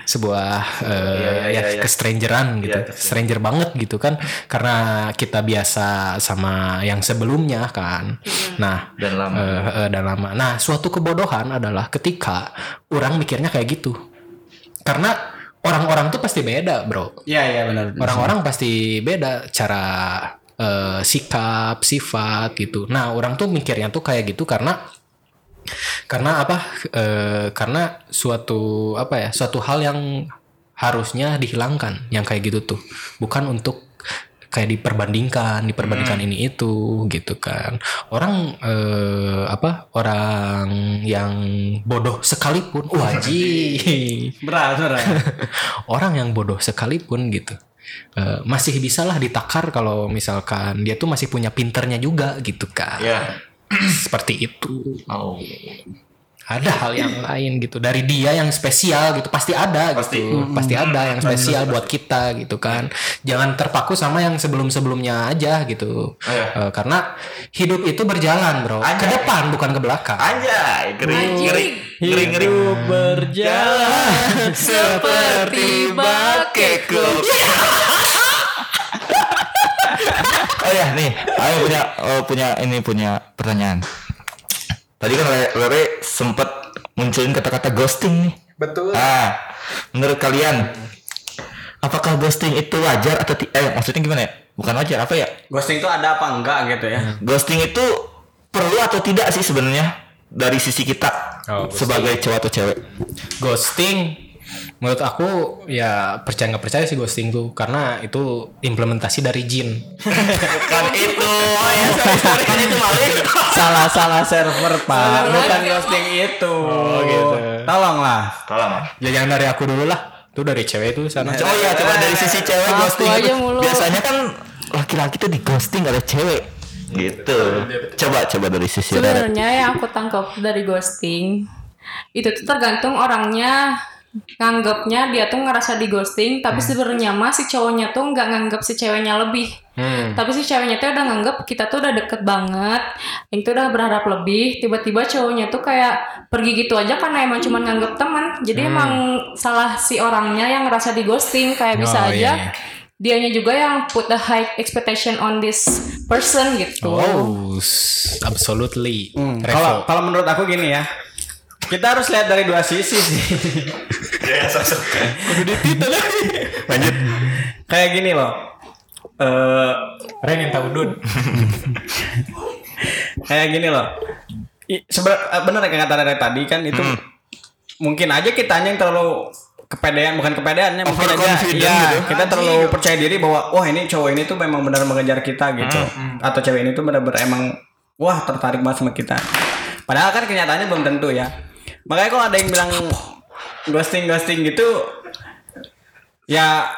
Speaker 4: sebuah eh,
Speaker 3: Iya, iya,
Speaker 4: ya,
Speaker 3: iya, iya.
Speaker 4: strangeran gitu,
Speaker 3: Iya,
Speaker 4: stranger banget gitu kan, karena kita biasa sama yang sebelumnya kan. Nah,
Speaker 3: Dan lama.
Speaker 4: eh, eh, dan lama. Nah, suatu kebodohan adalah ketika orang mikirnya kayak gitu, karena orang-orang tuh pasti beda, bro.
Speaker 5: Iya iya benar.
Speaker 4: Orang-orang pasti beda cara eh, sikap, sifat gitu. Nah, orang tuh mikirnya tuh kayak gitu karena karena apa? Eh, karena suatu apa ya? Suatu hal yang harusnya dihilangkan yang kayak gitu tuh. Bukan untuk kayak diperbandingkan, diperbandingkan ini itu gitu kan. Orang eh, apa? Orang yang bodoh sekalipun, wajib
Speaker 5: Berat berat.
Speaker 4: orang yang bodoh sekalipun gitu eh, masih bisalah ditakar kalau misalkan dia tuh masih punya pinternya juga gitu kan
Speaker 3: Ya.
Speaker 4: seperti itu
Speaker 3: Oh.
Speaker 4: ada hal yang lain gitu dari dia yang spesial gitu pasti ada
Speaker 3: Pasti.
Speaker 4: gitu pasti ada yang spesial buat kita gitu kan jangan terpaku sama yang sebelum sebelumnya aja gitu
Speaker 3: Iya.
Speaker 4: Eh, karena hidup itu berjalan bro ke
Speaker 3: Anjay.
Speaker 4: depan bukan ke belakang
Speaker 3: Anjay, ngeri,
Speaker 2: Anjing.
Speaker 3: ngeri, ngeri, ngeri. Berjalan
Speaker 2: seperti bakekku.
Speaker 3: Oh ya nih, ayo punya oh, punya ini punya pertanyaan. Tadi kan Lere, Lere sempet munculin kata-kata ghosting nih.
Speaker 5: Betul.
Speaker 3: Ah, menurut kalian apakah ghosting itu wajar atau ti- eh maksudnya gimana ya? Bukan wajar apa ya?
Speaker 5: Ghosting itu ada apa enggak gitu ya?
Speaker 3: Ghosting itu perlu atau tidak sih sebenarnya dari sisi kita
Speaker 4: Oh, ghosting.
Speaker 3: sebagai cowok atau cewek?
Speaker 4: ghosting menurut aku ya percaya nggak percaya sih ghosting tuh karena itu implementasi dari jin
Speaker 3: Bukan itu. Oh ya, sorry, sorry. Kan itu maling.
Speaker 5: salah salah server pak, bukan
Speaker 2: lagi,
Speaker 5: ghosting itu. Oh
Speaker 4: gitu.
Speaker 5: Tolonglah.
Speaker 3: Tolong.
Speaker 4: ya jangan dari aku dulu lah itu dari cewek itu sana
Speaker 3: Oh ya, coba dari sisi cewek
Speaker 2: Aku
Speaker 3: ghosting.
Speaker 2: aja mulu.
Speaker 3: Biasanya kan laki-laki tuh di ghosting oleh cewek. Gitu. Coba coba dari sisi Rere.
Speaker 2: Sebenarnya yang aku tangkap dari ghosting itu tuh tergantung orangnya nganggapnya dia tuh ngerasa di ghosting tapi
Speaker 4: Hmm.
Speaker 2: sebenarnya mah si cowoknya tuh nggak nganggap si ceweknya lebih
Speaker 4: Hmm.
Speaker 2: tapi si ceweknya tuh udah nganggap kita tuh udah deket banget yang tuh udah berharap lebih tiba-tiba cowoknya tuh kayak pergi gitu aja karena emang cuman nganggap teman jadi
Speaker 4: Hmm.
Speaker 2: emang salah si orangnya yang ngerasa di ghosting kayak bisa
Speaker 4: Oh,
Speaker 2: aja
Speaker 4: iya, iya.
Speaker 2: dianya juga yang put the high expectation on this person gitu
Speaker 4: oh s- absolutely
Speaker 5: Hmm,
Speaker 4: Revo.
Speaker 5: Kalau kalau menurut aku gini ya, kita harus lihat dari dua sisi sih.
Speaker 3: Lanjut.
Speaker 5: Kayak gini loh. Eh
Speaker 4: Ren yang tahu dun
Speaker 5: kayak gini loh. I- Seber, eh, bener yang kata Rere tadi kan itu
Speaker 3: Hmm.
Speaker 5: mungkin aja kitanya yang terlalu kepedean bukan kepedeannya mungkin aja
Speaker 3: Overconfident
Speaker 5: ya,
Speaker 3: gitu.
Speaker 5: kita terlalu percaya diri bahwa wah ini cowok ini tuh memang benar mengejar kita
Speaker 3: Hmm,
Speaker 5: gitu atau cewek ini tuh benar-benar emang wah tertarik banget sama kita padahal kan kenyataannya belum tentu ya makanya kalau ada yang bilang ghosting ghosting gitu ya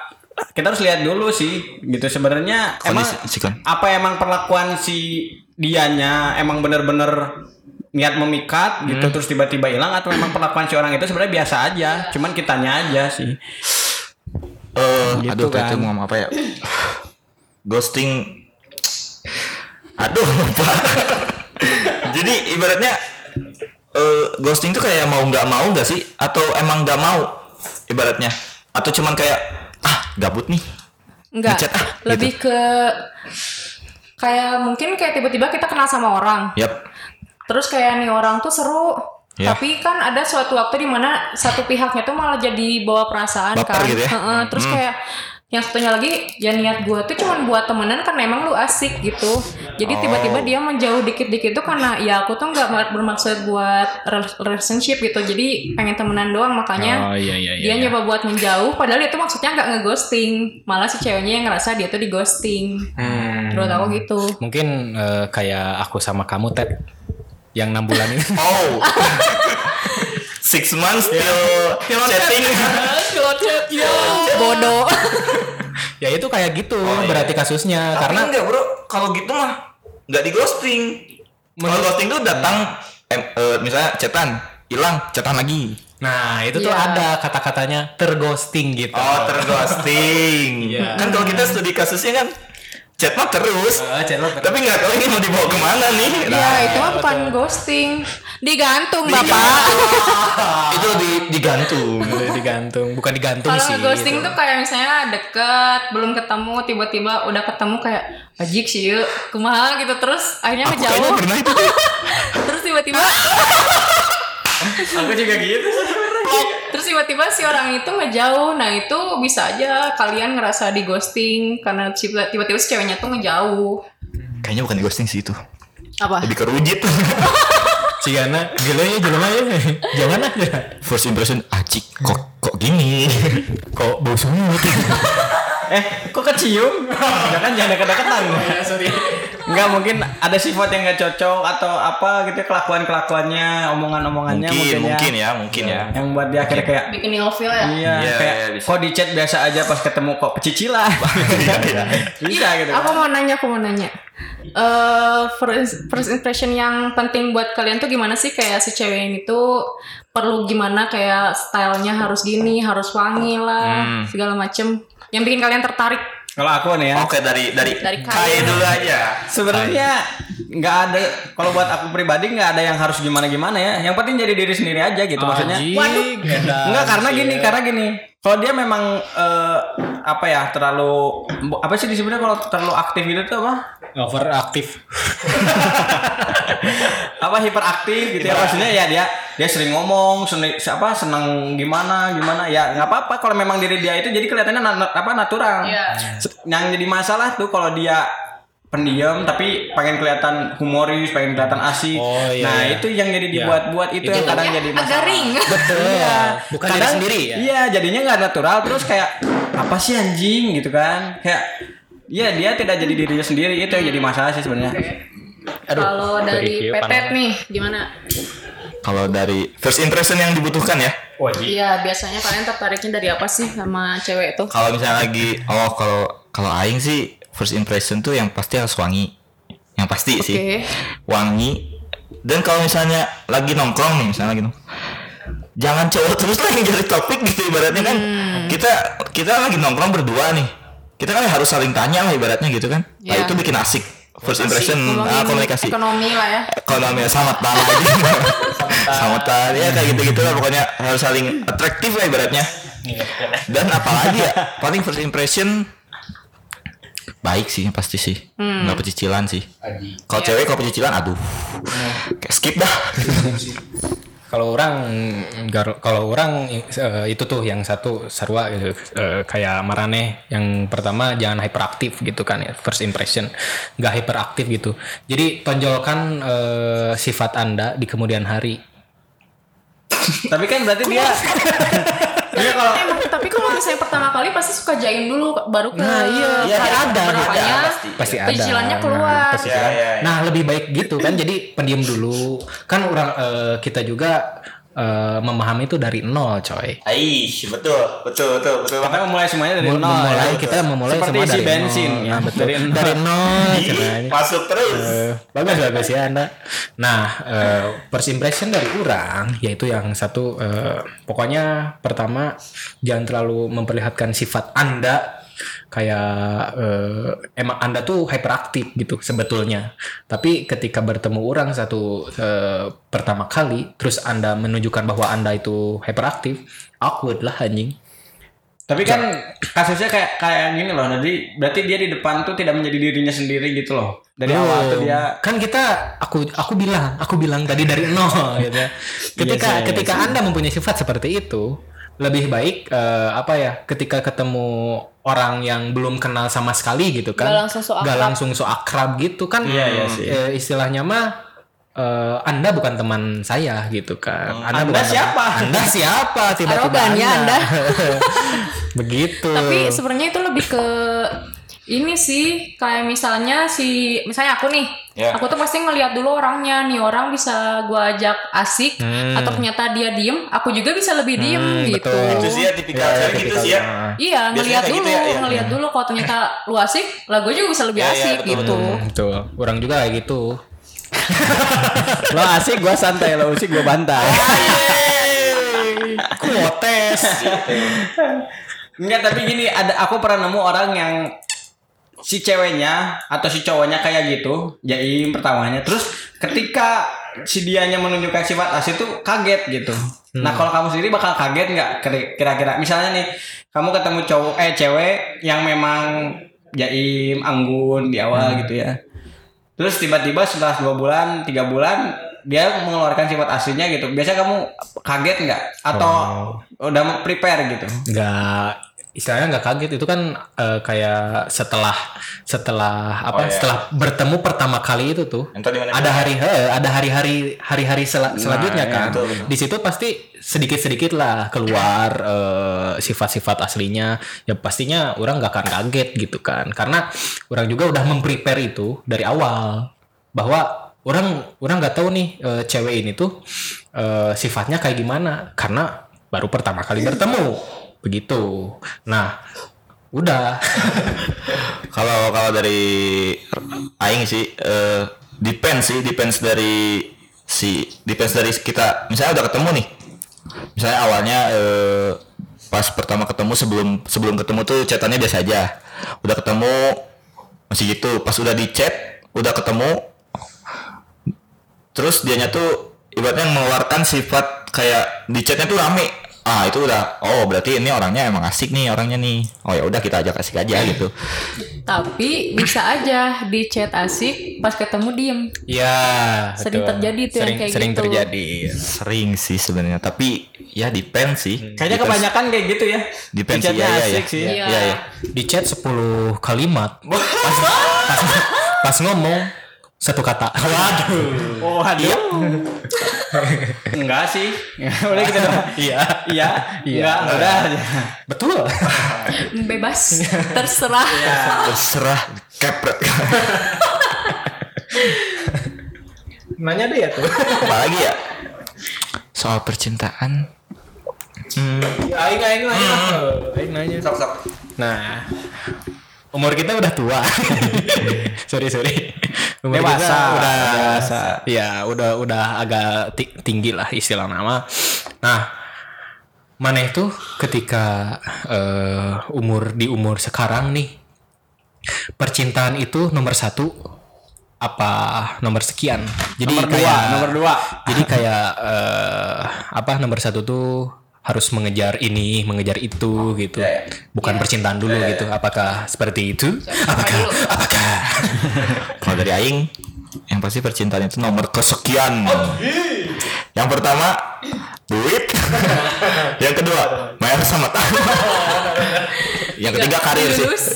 Speaker 5: kita harus lihat dulu sih gitu sebenarnya emang
Speaker 3: Kondisi- kan? sikon.
Speaker 5: apa emang perlakuan si dianya emang bener-bener niat memikat gitu
Speaker 3: Hmm.
Speaker 5: terus tiba-tiba hilang atau emang perlakuan si orang itu sebenarnya biasa aja cuman kitanya aja sih
Speaker 3: Eh,
Speaker 5: Gitu
Speaker 3: aduh tadi
Speaker 5: kan.
Speaker 3: mau ngomong apa ya? Ghosting. Aduh lupa. Jadi ibaratnya eh, ghosting tuh kayak mau nggak mau nggak sih? Atau emang nggak mau? Ibaratnya? Atau cuman kayak ah gabut nih?
Speaker 2: Enggak,
Speaker 3: Ngechat ah, gitu.
Speaker 2: lebih ke kayak mungkin kayak tiba-tiba kita kenal sama orang.
Speaker 3: Yap.
Speaker 2: Terus kayak nih orang tuh seru,
Speaker 4: Iya.
Speaker 3: Ya.
Speaker 2: tapi kan ada suatu waktu di mana satu pihaknya tuh malah jadi bawa perasaan
Speaker 3: Baper
Speaker 2: kan.
Speaker 3: gitu ya.
Speaker 2: Heeh,
Speaker 4: Hmm.
Speaker 2: terus kayak yang satunya lagi ya niat gua tuh cuman buat temenan karena emang lu asik gitu. Jadi
Speaker 4: Oh.
Speaker 2: tiba-tiba dia menjauh dikit-dikit tuh karena ya aku tuh nggak mer- bermaksud buat rel- relationship gitu. Jadi pengen temenan doang makanya
Speaker 4: Oh, iya, iya, iya,
Speaker 2: dia
Speaker 4: iya.
Speaker 2: nyoba buat menjauh padahal itu maksudnya nggak ngeghosting. Malah si ceweknya yang ngerasa dia tuh dighosting.
Speaker 4: Hmm.
Speaker 2: Menurut aku gitu.
Speaker 4: Mungkin eh, kayak aku sama kamu Ted yang enam bulan ini.
Speaker 3: Oh. Ya. Six months till chatting.
Speaker 2: Bodoh.
Speaker 4: ya itu kayak gitu berarti kasusnya
Speaker 3: Nah, Karena
Speaker 4: karena
Speaker 3: enggak bro, kalau gitu mah nggak di ghosting. Kalau
Speaker 4: Menurut-
Speaker 3: ghosting tuh datang, em, eh, misalnya chatan, hilang, chatan lagi.
Speaker 4: nah itu tuh
Speaker 2: Iya.
Speaker 4: ada kata-katanya terghosting gitu.
Speaker 3: Oh, terghosting.
Speaker 4: Iya.
Speaker 3: Kan kalau kita studi kasusnya kan Ah, chat mah terus. Iya,
Speaker 4: Eh, channel ter-
Speaker 3: Tapi nggak tahu ini mau dibawa kemana nih. Nah,
Speaker 2: Ya itu mah bukan ghosting, digantung bapak.
Speaker 3: Digantung. iya. itu di, digantung.
Speaker 4: Boleh digantung, bukan digantung
Speaker 2: Kalau
Speaker 4: sih.
Speaker 2: ghosting
Speaker 4: gitu.
Speaker 2: tuh kayak misalnya deket, belum ketemu, tiba-tiba udah ketemu kayak ajik sih yuk, kumaha gitu terus akhirnya
Speaker 3: Aku kayaknya
Speaker 2: ngejauh,
Speaker 3: pernah itu.
Speaker 2: terus tiba-tiba,
Speaker 5: aku juga gitu
Speaker 2: terus tiba-tiba si orang itu ngejauh. Nah itu bisa aja kalian ngerasa di ghosting karena si- tiba-tiba si ceweknya tuh ngejauh.
Speaker 3: Kayaknya bukan di ghosting sih itu.
Speaker 2: Apa?
Speaker 3: Lebih ke rujit.
Speaker 4: Cigana, gila ya jelema ya. Jangan lah.
Speaker 3: First impression, ajik kok kok gini.
Speaker 4: Kok bau semut?
Speaker 5: eh kok kecium jangan jangan deket-deketan nggak mungkin ada sifat yang nggak cocok atau apa gitu kelakuan kelakuannya omongan omongannya
Speaker 3: mungkin, mungkin
Speaker 5: ya.
Speaker 3: ya, mungkin ya.
Speaker 5: yang buat dia akhirnya kayak
Speaker 2: Bikin ilfeel ya?
Speaker 5: Iya,
Speaker 3: Iya,
Speaker 5: kayak
Speaker 3: iya, bisa.
Speaker 5: kok di chat biasa aja pas ketemu kok pecicilan.
Speaker 3: Iya, iya.
Speaker 5: bisa gitu.
Speaker 2: Aku mau nanya, aku mau nanya. Eh, first, first impression yang penting buat kalian tuh gimana sih kayak si cewek ini tuh perlu gimana kayak stylenya harus gini, harus wangi
Speaker 3: Hmm.
Speaker 2: lah, segala macem. Yang bikin kalian tertarik.
Speaker 5: Kalau aku nih ya,
Speaker 3: Oke dari dari,
Speaker 2: Dari ya. kain.
Speaker 3: kain dulu aja.
Speaker 5: sebenarnya nggak ada kalau buat aku pribadi nggak ada yang harus gimana-gimana ya. Yang penting jadi diri sendiri aja gitu maksudnya.
Speaker 4: Waduh.
Speaker 5: Enggak karena gini, karena gini. Kalau dia memang eh, apa ya, terlalu apa sih disebutnya kalau terlalu aktif gitu tuh apa?
Speaker 4: Overaktif.
Speaker 5: apa hiperaktif gitu ya maksudnya ya dia dia sering ngomong seni- apa senang gimana gimana ya nggak apa-apa kalau memang diri dia itu jadi kelihatannya na- na- apa natural
Speaker 2: Iya.
Speaker 5: Se- yang jadi masalah tuh kalau dia pendiam tapi pengen kelihatan humoris pengen kelihatan asik
Speaker 4: Oh, iya,
Speaker 5: nah
Speaker 4: iya.
Speaker 5: itu yang jadi dibuat-buat itu,
Speaker 4: Itu
Speaker 5: yang kadang
Speaker 2: Ya,
Speaker 5: jadi
Speaker 2: agak
Speaker 5: masalah
Speaker 2: ring.
Speaker 4: Iya. Bukan diri
Speaker 5: Kadang-
Speaker 4: sendiri ya.
Speaker 5: Iya, jadinya nggak natural. Terus kayak apa sih anjing gitu kan? Kayak Iya dia tidak jadi dirinya sendiri itu yang jadi masalah sih sebenarnya.
Speaker 2: Kalau dari
Speaker 4: kehidupan
Speaker 2: petet
Speaker 4: apa?
Speaker 2: nih gimana?
Speaker 3: Kalau dari first impression yang dibutuhkan ya.
Speaker 2: Iya, biasanya kalian tertariknya dari apa sih sama cewek itu?
Speaker 3: kalau misalnya lagi oh kalau kalau aing sih first impression tuh yang pasti harus wangi yang pasti sih
Speaker 2: Oke.
Speaker 3: wangi dan kalau misalnya lagi nongkrong nih misalnya lagi nongkrong jangan cowok terus lah yang jadi topik gitu ibaratnya kan kita kita lagi nongkrong berdua nih kita kan harus saling tanya lah ibaratnya gitu kan nah
Speaker 2: Iya.
Speaker 3: itu bikin asik first impression
Speaker 2: Ngomongin
Speaker 3: ah, komunikasi
Speaker 2: Ekonomi lah ya.
Speaker 3: ekonomi sama tanah aja sama tanah ya kayak gitu gitu lah pokoknya harus saling atraktif lah ibaratnya dan apalagi ya paling first impression baik sih pasti sih nggak pecicilan sih kalau cewek kalau pecicilan aduh kayak skip dah
Speaker 4: Kalau orang gar- kalau orang eh, itu tuh yang satu sarwa gitu Eh, kayak Marane yang pertama jangan hyperaktif gitu kan ya first impression nggak hyperaktif gitu. Jadi tonjolkan eh, sifat Anda di kemudian hari.
Speaker 5: Tapi kan berarti dia dia kalau
Speaker 2: Emang, Eh, tapi kalau misalnya pertama kali pasti suka jaim dulu baru ke
Speaker 4: Nah,
Speaker 5: Ah,
Speaker 4: iya. Iya,
Speaker 2: kali
Speaker 4: ada,
Speaker 2: keberapanya,
Speaker 3: ada, pasti.
Speaker 4: Pasti ada.
Speaker 2: Penicilannya keluar.
Speaker 4: Nah, pasti
Speaker 3: Ya,
Speaker 4: kan.
Speaker 3: ya, ya.
Speaker 4: Nah, lebih baik gitu kan jadi pendiam dulu. Kan orang eh, kita juga eh, eh, memahami itu dari nol coy
Speaker 3: Aish, betul, betul, betul, betul.
Speaker 5: Kita memulai semuanya dari
Speaker 4: Mul-
Speaker 5: nol.
Speaker 4: memulai
Speaker 5: ya.
Speaker 4: kita memulai
Speaker 5: Seperti
Speaker 4: semua
Speaker 5: isi
Speaker 4: dari
Speaker 5: bensin.
Speaker 4: nol.
Speaker 5: ya.
Speaker 4: Ah, betul.
Speaker 5: Dari nol.
Speaker 4: dari nol
Speaker 3: Ih,
Speaker 4: caranya.
Speaker 3: masuk terus.
Speaker 4: Eh, bagus bagus ya anda nah eh, first impression dari orang yaitu yang satu eh, pokoknya pertama jangan terlalu memperlihatkan sifat anda kayak eh, emang anda tuh hyperaktif gitu sebetulnya tapi ketika bertemu orang satu eh, pertama kali terus anda menunjukkan bahwa anda itu hyperaktif awkward lah anjing
Speaker 5: Tapi kan kasusnya kayak kayak gini loh. Jadi berarti dia di depan tuh tidak menjadi dirinya sendiri gitu loh. Dari awal
Speaker 4: Belum.
Speaker 5: tuh dia
Speaker 4: kan kita aku aku bilang aku bilang tadi dari nol gitu ya. ketika
Speaker 5: sih, iya
Speaker 4: ketika anda mempunyai sifat seperti itu lebih baik eh, apa ya ketika ketemu orang yang belum kenal sama sekali gitu kan
Speaker 2: Nggak langsung so
Speaker 4: Nggak
Speaker 2: akrab.
Speaker 4: langsung so akrab gitu kan
Speaker 5: Iya, iya sih.
Speaker 4: eh, istilahnya mah eh, anda bukan teman saya gitu kan anda,
Speaker 5: Hmm. Anda
Speaker 4: bukan teman-
Speaker 5: siapa?
Speaker 4: anda siapa tiba-tiba
Speaker 2: Arogan ya Anda.
Speaker 4: begitu
Speaker 2: Tapi sebenarnya itu lebih ke ini sih kayak misalnya si misalnya aku nih,
Speaker 3: Ya.
Speaker 2: aku tuh pasti ngelihat dulu orangnya nih orang bisa gua ajak asik
Speaker 4: Hmm.
Speaker 2: atau ternyata dia diem, aku juga bisa lebih diem
Speaker 4: Hmm,
Speaker 2: gitu.
Speaker 4: betul.
Speaker 3: Itu sih ya tipikal
Speaker 4: Ya,
Speaker 3: cewek gitu sih ya.
Speaker 4: tipikalnya.
Speaker 2: Iya,
Speaker 3: Biasanya
Speaker 2: ngelihat
Speaker 3: kayak
Speaker 2: dulu,
Speaker 3: gitu ya, iya.
Speaker 2: ngelihat dulu kalau ternyata lu asik, lah gua juga bisa lebih
Speaker 3: Iya, iya,
Speaker 2: asik
Speaker 3: betul,
Speaker 2: gitu.
Speaker 4: Hmm, betul orang juga kayak gitu
Speaker 5: lo asik gua santai, lo usik gua bantai.
Speaker 4: kuotes
Speaker 5: Enggak, tapi gini, ada aku pernah nemu orang yang si ceweknya atau si cowoknya kayak gitu, jaim pertamanya. Terus ketika si dianya menunjukkan sifat asli tuh kaget gitu. Nah, kalau kamu sendiri bakal kaget nggak kira- kira-kira? Misalnya nih, kamu ketemu cowok eh cewek yang memang jaim, anggun di awal gitu ya. Terus tiba-tiba setelah dua bulan, tiga bulan dia mengeluarkan sifat aslinya gitu. Biasanya kamu kaget nggak? Atau udah prepare gitu?
Speaker 4: nggak istilahnya nggak kaget itu kan eh, kayak setelah setelah
Speaker 3: iya.
Speaker 4: apa setelah bertemu pertama kali itu tuh
Speaker 3: Yang tadi mana?
Speaker 4: ada hari he, ada hari-hari hari-hari sel- selanjutnya
Speaker 5: iya,
Speaker 4: kan
Speaker 3: betul, betul.
Speaker 4: di situ pasti sedikit-sedikit lah keluar eh, sifat-sifat aslinya ya pastinya orang nggak akan kaget gitu kan karena orang juga udah memprepare itu dari awal bahwa orang orang nggak tahu nih eh, cewek ini tuh eh, sifatnya kayak gimana karena baru pertama kali bertemu begitu nah udah
Speaker 3: Kalau kalau dari aing sih eh depends sih, depends dari si depends dari kita. Misalnya udah ketemu nih. Misalnya awalnya eh pas pertama ketemu sebelum sebelum ketemu tuh chatannya biasa aja. Udah ketemu masih gitu. Pas udah di chat, udah ketemu terus dianya tuh ibaratnya mengeluarkan sifat kayak di chatnya tuh rame ah itu udah oh berarti ini orangnya emang asik nih orangnya nih oh ya udah kita ajak asik aja gitu
Speaker 2: Tapi bisa aja di chat asik, pas ketemu diem.
Speaker 4: ya
Speaker 2: Sering
Speaker 4: betul.
Speaker 2: terjadi tuh yang
Speaker 4: sering,
Speaker 2: kayak
Speaker 4: sering
Speaker 2: gitu.
Speaker 4: terjadi
Speaker 3: sering sih sebenarnya tapi ya depends sih
Speaker 4: Hmm,
Speaker 5: Kayaknya
Speaker 3: Depends-
Speaker 5: kebanyakan kayak gitu ya.
Speaker 3: depends sih, ya,
Speaker 5: Dicatnya
Speaker 3: ya,
Speaker 5: asik
Speaker 3: ya.
Speaker 5: sih.
Speaker 2: Iya.
Speaker 3: ya, ya, ya.
Speaker 4: di chat 10 kalimat pas, pas, pas ngomong satu kata waduh
Speaker 5: Oh, aduh. Enggak sih. Udah kita doang.
Speaker 4: iya
Speaker 5: Iya,
Speaker 4: Iya.
Speaker 5: enggak, udah aja.
Speaker 4: betul
Speaker 2: Bebas, terserah.
Speaker 3: Iya. terserah kepret
Speaker 4: nanya deh ya tuh
Speaker 3: apalagi ya soal percintaan
Speaker 4: aing aing nanya aing nanya nah umur kita udah tua sorry sorry umur
Speaker 5: Dewasa.
Speaker 4: kita udah
Speaker 5: Dewasa.
Speaker 4: ya udah udah agak ti- tinggi lah istilah nama nah mana itu ketika eh, umur di umur sekarang nih percintaan itu nomor satu apa nomor sekian jadi
Speaker 5: Nomor dua,
Speaker 4: kayak-
Speaker 5: nomor dua.
Speaker 4: jadi kayak eh, apa nomor satu tuh harus mengejar ini, mengejar itu gitu.
Speaker 5: Ya,
Speaker 4: Bukan percintaan dulu gitu. Apakah seperti itu? Apakah? Apakah?
Speaker 3: kalau dari aing yang pasti percintaan itu nomor kesekian
Speaker 4: Oh, iya.
Speaker 3: yang pertama duit yang kedua main sama
Speaker 4: Iya.
Speaker 3: tangan yang ketiga karir sih
Speaker 2: Lulus.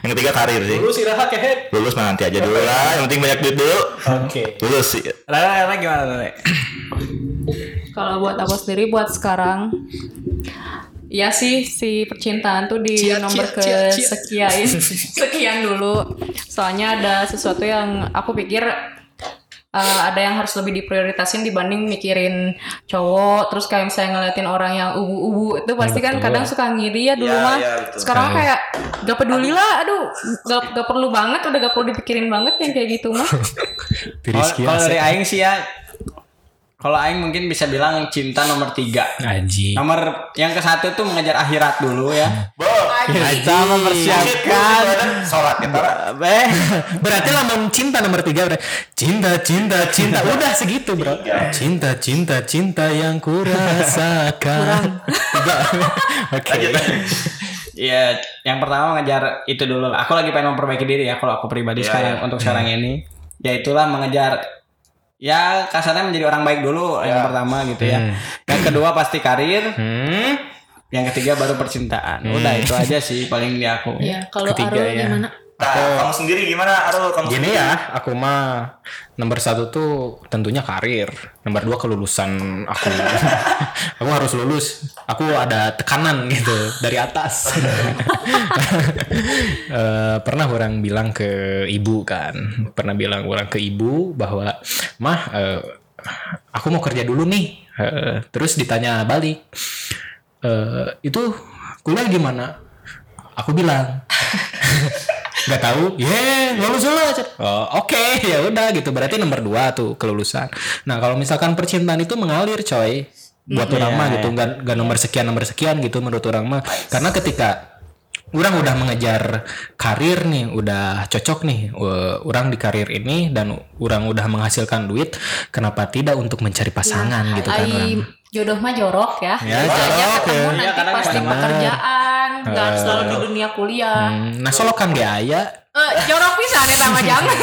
Speaker 3: yang ketiga karir sih
Speaker 4: Lu siraha kehet.
Speaker 3: lulus mah nanti aja dulu lah yang penting banyak duit dulu
Speaker 4: Oke.
Speaker 3: lulus sih
Speaker 5: Lala, Lala gimana Lala?
Speaker 2: Kalau buat aku sendiri buat sekarang Ya sih si percintaan tuh di nomor ke sekian sekian dulu. Soalnya ada sesuatu yang aku pikir eh, ada yang harus lebih diprioritasin dibanding mikirin cowok terus kayak misalnya ngeliatin orang yang ubu-ubu itu pasti kan kadang suka ngiri ya dulu
Speaker 1: Iya,
Speaker 2: mah
Speaker 1: iya, betul.
Speaker 2: sekarang kayak gak peduli lah aduh gak, gak perlu banget udah gak perlu dipikirin banget yang kayak gitu mah
Speaker 4: Tiris
Speaker 5: Kalau kalau dari Aing sih ya, kalau Aing mungkin bisa bilang cinta nomor tiga.
Speaker 4: Aji.
Speaker 5: Nomor yang ke satu tuh mengejar akhirat dulu ya.
Speaker 3: Bo,
Speaker 5: Kita mempersiapkan.
Speaker 3: kan sholat kita lah.
Speaker 5: Eh,
Speaker 4: Berarti lambang cinta nomor tiga berarti cinta cinta cinta udah segitu bro. Cinta cinta cinta yang kurasakan. Tiga. Oke.
Speaker 5: ya yang pertama mengejar itu dulu lah. Aku lagi pengen memperbaiki diri ya kalau aku pribadi sekarang untuk sekarang ini. Ya itulah mengejar ya kasarnya menjadi orang baik dulu yang pertama gitu ya. Yang kedua pasti karir.
Speaker 4: Hmm.
Speaker 5: Yang ketiga baru percintaan. Udah itu aja sih paling di aku.
Speaker 2: ya kalau
Speaker 4: Ketiga
Speaker 2: Arul
Speaker 4: ya.
Speaker 2: gimana
Speaker 3: Nah, kamu sendiri gimana Arul? Kamu
Speaker 4: Gini ya, aku mah nomor satu tuh tentunya karir. Nomor dua kelulusan aku. aku harus lulus. Aku ada tekanan gitu dari atas. Eh, pernah orang bilang ke ibu kan, pernah bilang orang ke ibu bahwa mah eh, aku mau kerja dulu nih. Eh, terus ditanya balik, "Eh, itu kuliah gimana? Aku bilang nggak tahu ye lulus dulu aja oh, oke ya udah gitu berarti nomor dua tuh kelulusan nah kalau misalkan percintaan itu mengalir coy buat orang mah gitu nggak nggak nomor sekian nomor sekian gitu menurut orang mah karena ketika orang udah mengejar karir nih udah cocok nih eh, orang di karir ini dan orang udah menghasilkan duit kenapa tidak untuk mencari pasangan gitu kan
Speaker 2: Ai,
Speaker 4: orang
Speaker 2: jodoh mah jorok ya.
Speaker 4: Ya,
Speaker 2: Jodohnya
Speaker 4: jorok
Speaker 2: ketemu
Speaker 4: ya.
Speaker 5: Iya,
Speaker 2: nanti
Speaker 5: kadang
Speaker 2: pasti
Speaker 5: kadang.
Speaker 2: pekerjaan, nggak harus selalu di dunia kuliah.
Speaker 4: Hmm, nah solokan gak aya
Speaker 2: Eh, jorok bisa nih nama jangan.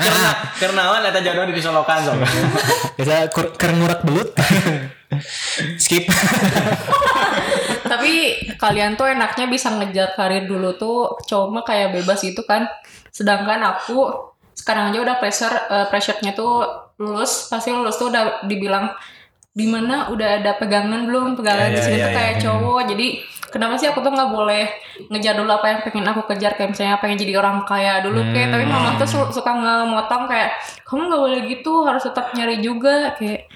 Speaker 5: Karena Kernawan atau jodoh di Solokan sob.
Speaker 4: bisa kur- keur ngurak belut skip
Speaker 2: Tapi kalian tuh enaknya bisa ngejar karir dulu tuh cowok mah kayak bebas gitu kan. Sedangkan aku sekarang aja udah pressure eh, pressure-nya tuh lulus, pasti lulus tuh udah dibilang di mana udah ada pegangan belum pegangan di sini tuh kayak cowok jadi kenapa sih aku tuh nggak boleh ngejar dulu apa yang pengen aku kejar kayak misalnya pengen jadi orang kaya dulu kayak tapi mama tuh su- suka ngemotong kayak kamu nggak boleh gitu harus tetap nyari juga kayak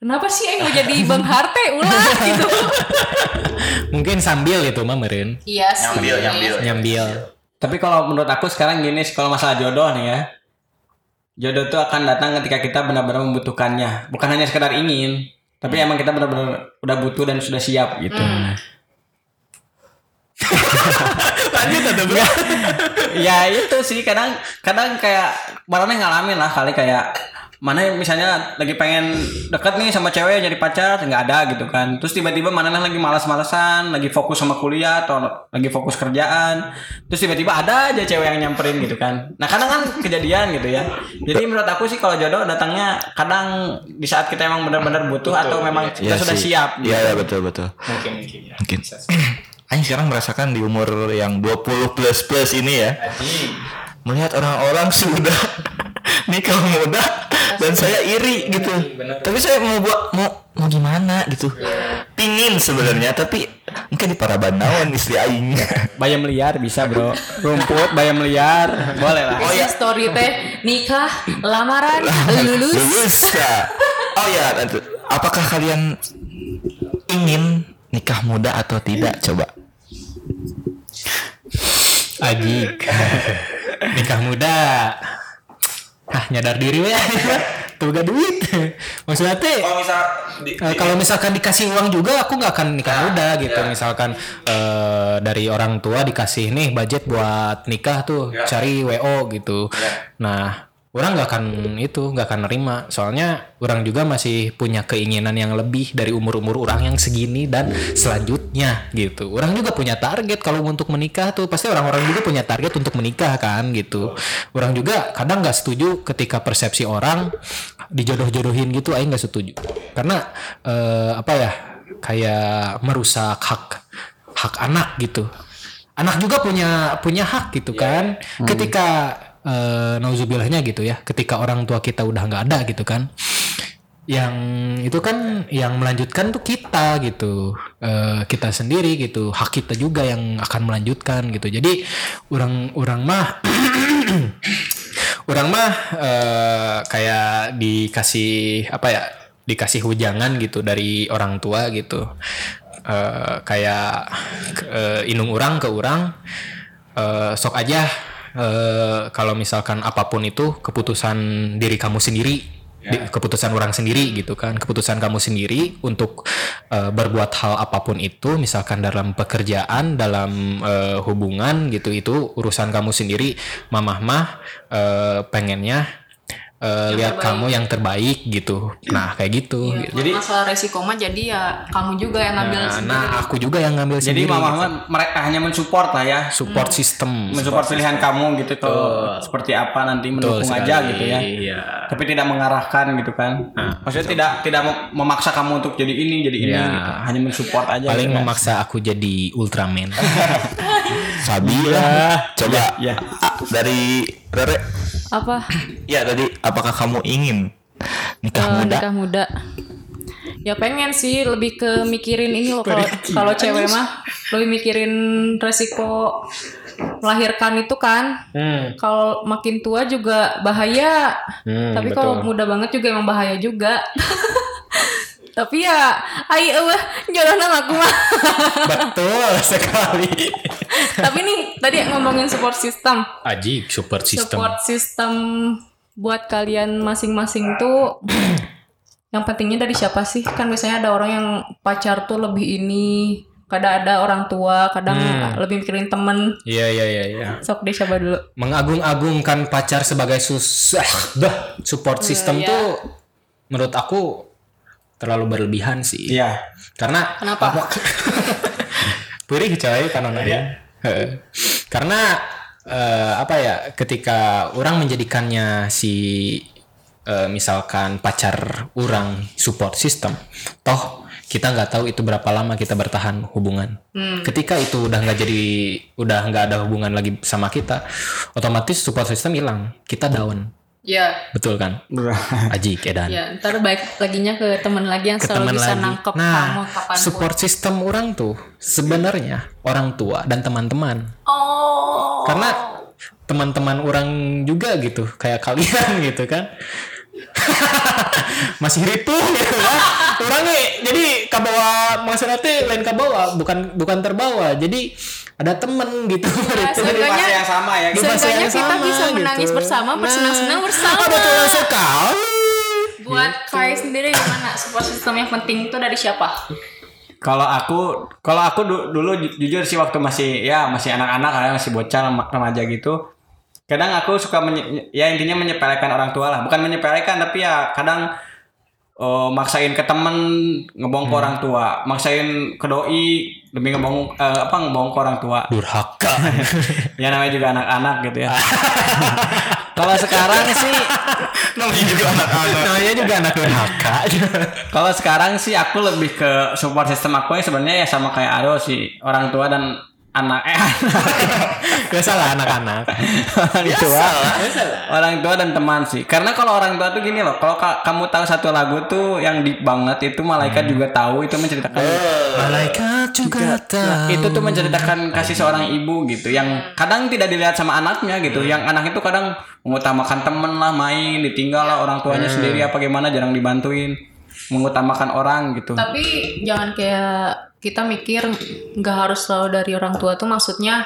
Speaker 2: kenapa sih yang mau jadi bang Harte ulah gitu
Speaker 4: mungkin sambil gitu mah meren
Speaker 2: iya sih
Speaker 1: Nyambil, nyambil.
Speaker 4: nyambil
Speaker 5: Tapi kalau menurut aku sekarang gini, sih, kalau masalah jodoh nih ya. Jodoh tuh akan datang ketika kita benar-benar membutuhkannya. Bukan hanya sekedar ingin, tapi emang kita benar-benar udah butuh dan sudah siap gitu.
Speaker 4: lanjut atau
Speaker 5: ya itu sih kadang kadang kayak barangnya ngalamin lah kali kayak mana yang misalnya lagi pengen deket nih sama cewek jadi pacar nggak ada gitu kan terus tiba-tiba mana lagi malas-malesan lagi fokus sama kuliah atau lagi fokus kerjaan terus tiba-tiba ada aja cewek yang nyamperin gitu kan nah kadang kan kejadian gitu ya jadi menurut aku sih kalau jodoh datangnya kadang di saat kita emang benar-benar butuh atau memang kita sudah siap gitu.
Speaker 3: Iya, iya, betul betul.
Speaker 1: Mungkin mungkin ya.
Speaker 3: Mungkin. Aing sekarang merasakan di umur yang 20 plus plus ini ya,
Speaker 1: Aji.
Speaker 3: melihat orang-orang sudah nikah muda dan saya iri gitu. Tapi saya mau buat mau mau gimana gitu. Pingin sebenarnya tapi mungkin di para banawan istri aing.
Speaker 5: bayam liar bisa bro rumput bayam liar boleh lah
Speaker 2: oh,
Speaker 1: iya,
Speaker 2: ya.
Speaker 3: Iya.
Speaker 2: story teh nikah lamaran lulus
Speaker 3: Lulus. ya. Oh ya, tentu. apakah kalian ingin nikah muda atau tidak coba?
Speaker 4: Ajik Nah, nikah muda ah nyadar diri ya tuh gak duit maksudnya teh
Speaker 1: misal di,
Speaker 4: Eh, kalau misalkan dikasih uang juga aku nggak akan nikah muda gitu misalkan eh, dari orang tua dikasih nih budget buat nikah tuh cari wo gitu nah orang nggak akan itu nggak akan nerima soalnya orang juga masih punya keinginan yang lebih dari umur umur orang yang segini dan selanjutnya gitu orang juga punya target kalau untuk menikah tuh pasti orang-orang juga punya target untuk menikah kan gitu orang juga kadang nggak setuju ketika persepsi orang dijodoh-jodohin gitu aing nggak setuju karena eh, apa ya kayak merusak hak hak anak gitu anak juga punya punya hak gitu kan ketika eh, nauzubillahnya gitu ya ketika orang tua kita udah nggak ada gitu kan yang itu kan yang melanjutkan tuh kita gitu Eh, kita sendiri gitu hak kita juga yang akan melanjutkan gitu jadi orang orang mah Orang mah eh, kayak dikasih apa ya? Dikasih hujangan gitu dari orang tua gitu. Eh, kayak eh, inung orang ke orang eh, sok aja eh, kalau misalkan apapun itu keputusan diri kamu sendiri. Di- keputusan orang sendiri gitu kan keputusan kamu sendiri untuk eh, berbuat hal apapun itu misalkan dalam pekerjaan dalam eh, hubungan gitu itu urusan kamu sendiri mamah mah eh, pengennya eh, lihat
Speaker 2: terbaik.
Speaker 4: kamu yang terbaik gitu nah kayak gitu
Speaker 2: Iya,
Speaker 4: gitu.
Speaker 2: jadi masalah resiko mah jadi ya kamu juga yang ngambil
Speaker 4: nah,
Speaker 2: sendiri.
Speaker 4: nah, aku juga yang ngambil
Speaker 5: Jadi
Speaker 4: sendiri gitu.
Speaker 5: mama mama mereka hanya mensupport lah ya,
Speaker 4: support
Speaker 2: Hmm.
Speaker 4: system
Speaker 5: mensupport pilihan kamu gitu tuh seperti apa nanti
Speaker 4: Betul
Speaker 5: mendukung
Speaker 4: sekali.
Speaker 5: aja gitu ya.
Speaker 4: Iya.
Speaker 5: Tapi tidak mengarahkan gitu kan. Maksudnya tidak tidak mem- memaksa kamu untuk jadi ini, jadi ini,
Speaker 4: Iya.
Speaker 5: gitu. hanya mensupport aja.
Speaker 4: paling
Speaker 5: gitu kan.
Speaker 4: memaksa aku jadi Ultraman
Speaker 3: Sabi lah. Coba
Speaker 5: Iya.
Speaker 3: ah, dari Rere.
Speaker 2: Apa?
Speaker 3: Ya tadi apakah kamu ingin nikah
Speaker 2: Eh,
Speaker 3: muda?
Speaker 2: nikah muda. Ya pengen sih lebih ke mikirin ini loh kalau kalau cewek mah lebih mikirin resiko melahirkan itu kan.
Speaker 5: Hmm.
Speaker 2: Kalau makin tua juga bahaya. Tapi kalau muda banget juga emang bahaya juga. Tapi ya, ayo jodohnya aku mah.
Speaker 4: betul sekali
Speaker 2: Tapi nih tadi ngomongin support system.
Speaker 4: Aji support system
Speaker 2: support system buat kalian masing-masing tuh yang pentingnya dari siapa sih kan misalnya ada orang yang pacar tuh lebih ini kadang ada orang tua kadang
Speaker 4: Hmm.
Speaker 2: lebih mikirin temen
Speaker 4: iya iya iya iya
Speaker 2: sok deh coba dulu
Speaker 4: mengagung-agungkan pacar sebagai susah dah support system
Speaker 2: iya.
Speaker 4: tuh menurut aku terlalu berlebihan sih
Speaker 5: Iya.
Speaker 4: karena
Speaker 2: kenapa
Speaker 4: Perih coy karena Heeh. kan, Karena eh, apa ya ketika orang menjadikannya si eh, misalkan pacar orang support system toh kita nggak tahu itu berapa lama kita bertahan hubungan. Ketika itu udah nggak jadi udah nggak ada hubungan lagi sama kita, otomatis support system hilang. Kita down.
Speaker 2: ya
Speaker 4: Betul kan? Aji Edan.
Speaker 2: ya ntar baik laginya ke temen lagi yang
Speaker 4: ke
Speaker 2: selalu
Speaker 4: teman
Speaker 2: bisa
Speaker 4: lagi.
Speaker 2: nangkep
Speaker 4: nah,
Speaker 2: kamu kapan
Speaker 4: support system orang tuh sebenarnya orang tua dan teman-teman.
Speaker 2: oh
Speaker 4: Karena teman-teman orang juga gitu, kayak kalian gitu kan. Masih ripuh gitu kan. Orang nih, jadi kabawa maksudnya teh lain kabawa, bukan bukan terbawa. Jadi ada temen gitu.
Speaker 2: Iya,
Speaker 4: Ripuh.
Speaker 5: Jadi
Speaker 2: Seenggaknya-
Speaker 5: fase yang sama ya.
Speaker 4: Di
Speaker 5: Gitu.
Speaker 4: fase
Speaker 2: seenggaknya
Speaker 4: yang
Speaker 2: kita
Speaker 4: sama,
Speaker 2: bisa menangis
Speaker 4: gitu.
Speaker 2: bersama, bersenang-senang bersama.
Speaker 4: Ah, Betul Gitu. sekali.
Speaker 2: buat kalian sendiri gimana support system yang penting tuh dari siapa
Speaker 5: Kalau aku, kalau aku du- dulu ju- jujur sih waktu masih ya masih anak-anak ya masih bocah rem- remaja gitu. Kadang aku suka menye- ya intinya menyepelekan orang tua lah. Bukan menyepelekan tapi ya kadang eh, maksain ke temen ngebong ke orang tua, maksain ke doi demi ngebong eh, apa ngebong ke orang tua.
Speaker 4: Durhaka.
Speaker 5: ya namanya juga anak-anak gitu ya. kalau sekarang sih,
Speaker 3: Namanya juga anak-anak.
Speaker 4: Namanya juga anak durhaka.
Speaker 5: kalau sekarang sih aku lebih ke support system aku yang sebenarnya ya sama kayak Aro sih orang tua dan anak eh
Speaker 4: Biasalah anak-anak.
Speaker 5: orang tua orang tua dan teman sih karena kalau orang tua tuh gini loh kalau ka- kamu tahu satu lagu tuh yang deep banget itu malaikat juga tahu itu menceritakan Nah,
Speaker 4: Malaikat juga tahu.
Speaker 5: itu tuh menceritakan kasih seorang ibu gitu yang kadang tidak dilihat sama anaknya gitu yang anak itu kadang mengutamakan temen lah main ditinggal lah orang tuanya sendiri apa gimana jarang dibantuin mengutamakan orang gitu
Speaker 2: Tapi jangan kayak kita mikir nggak harus selalu dari orang tua tuh maksudnya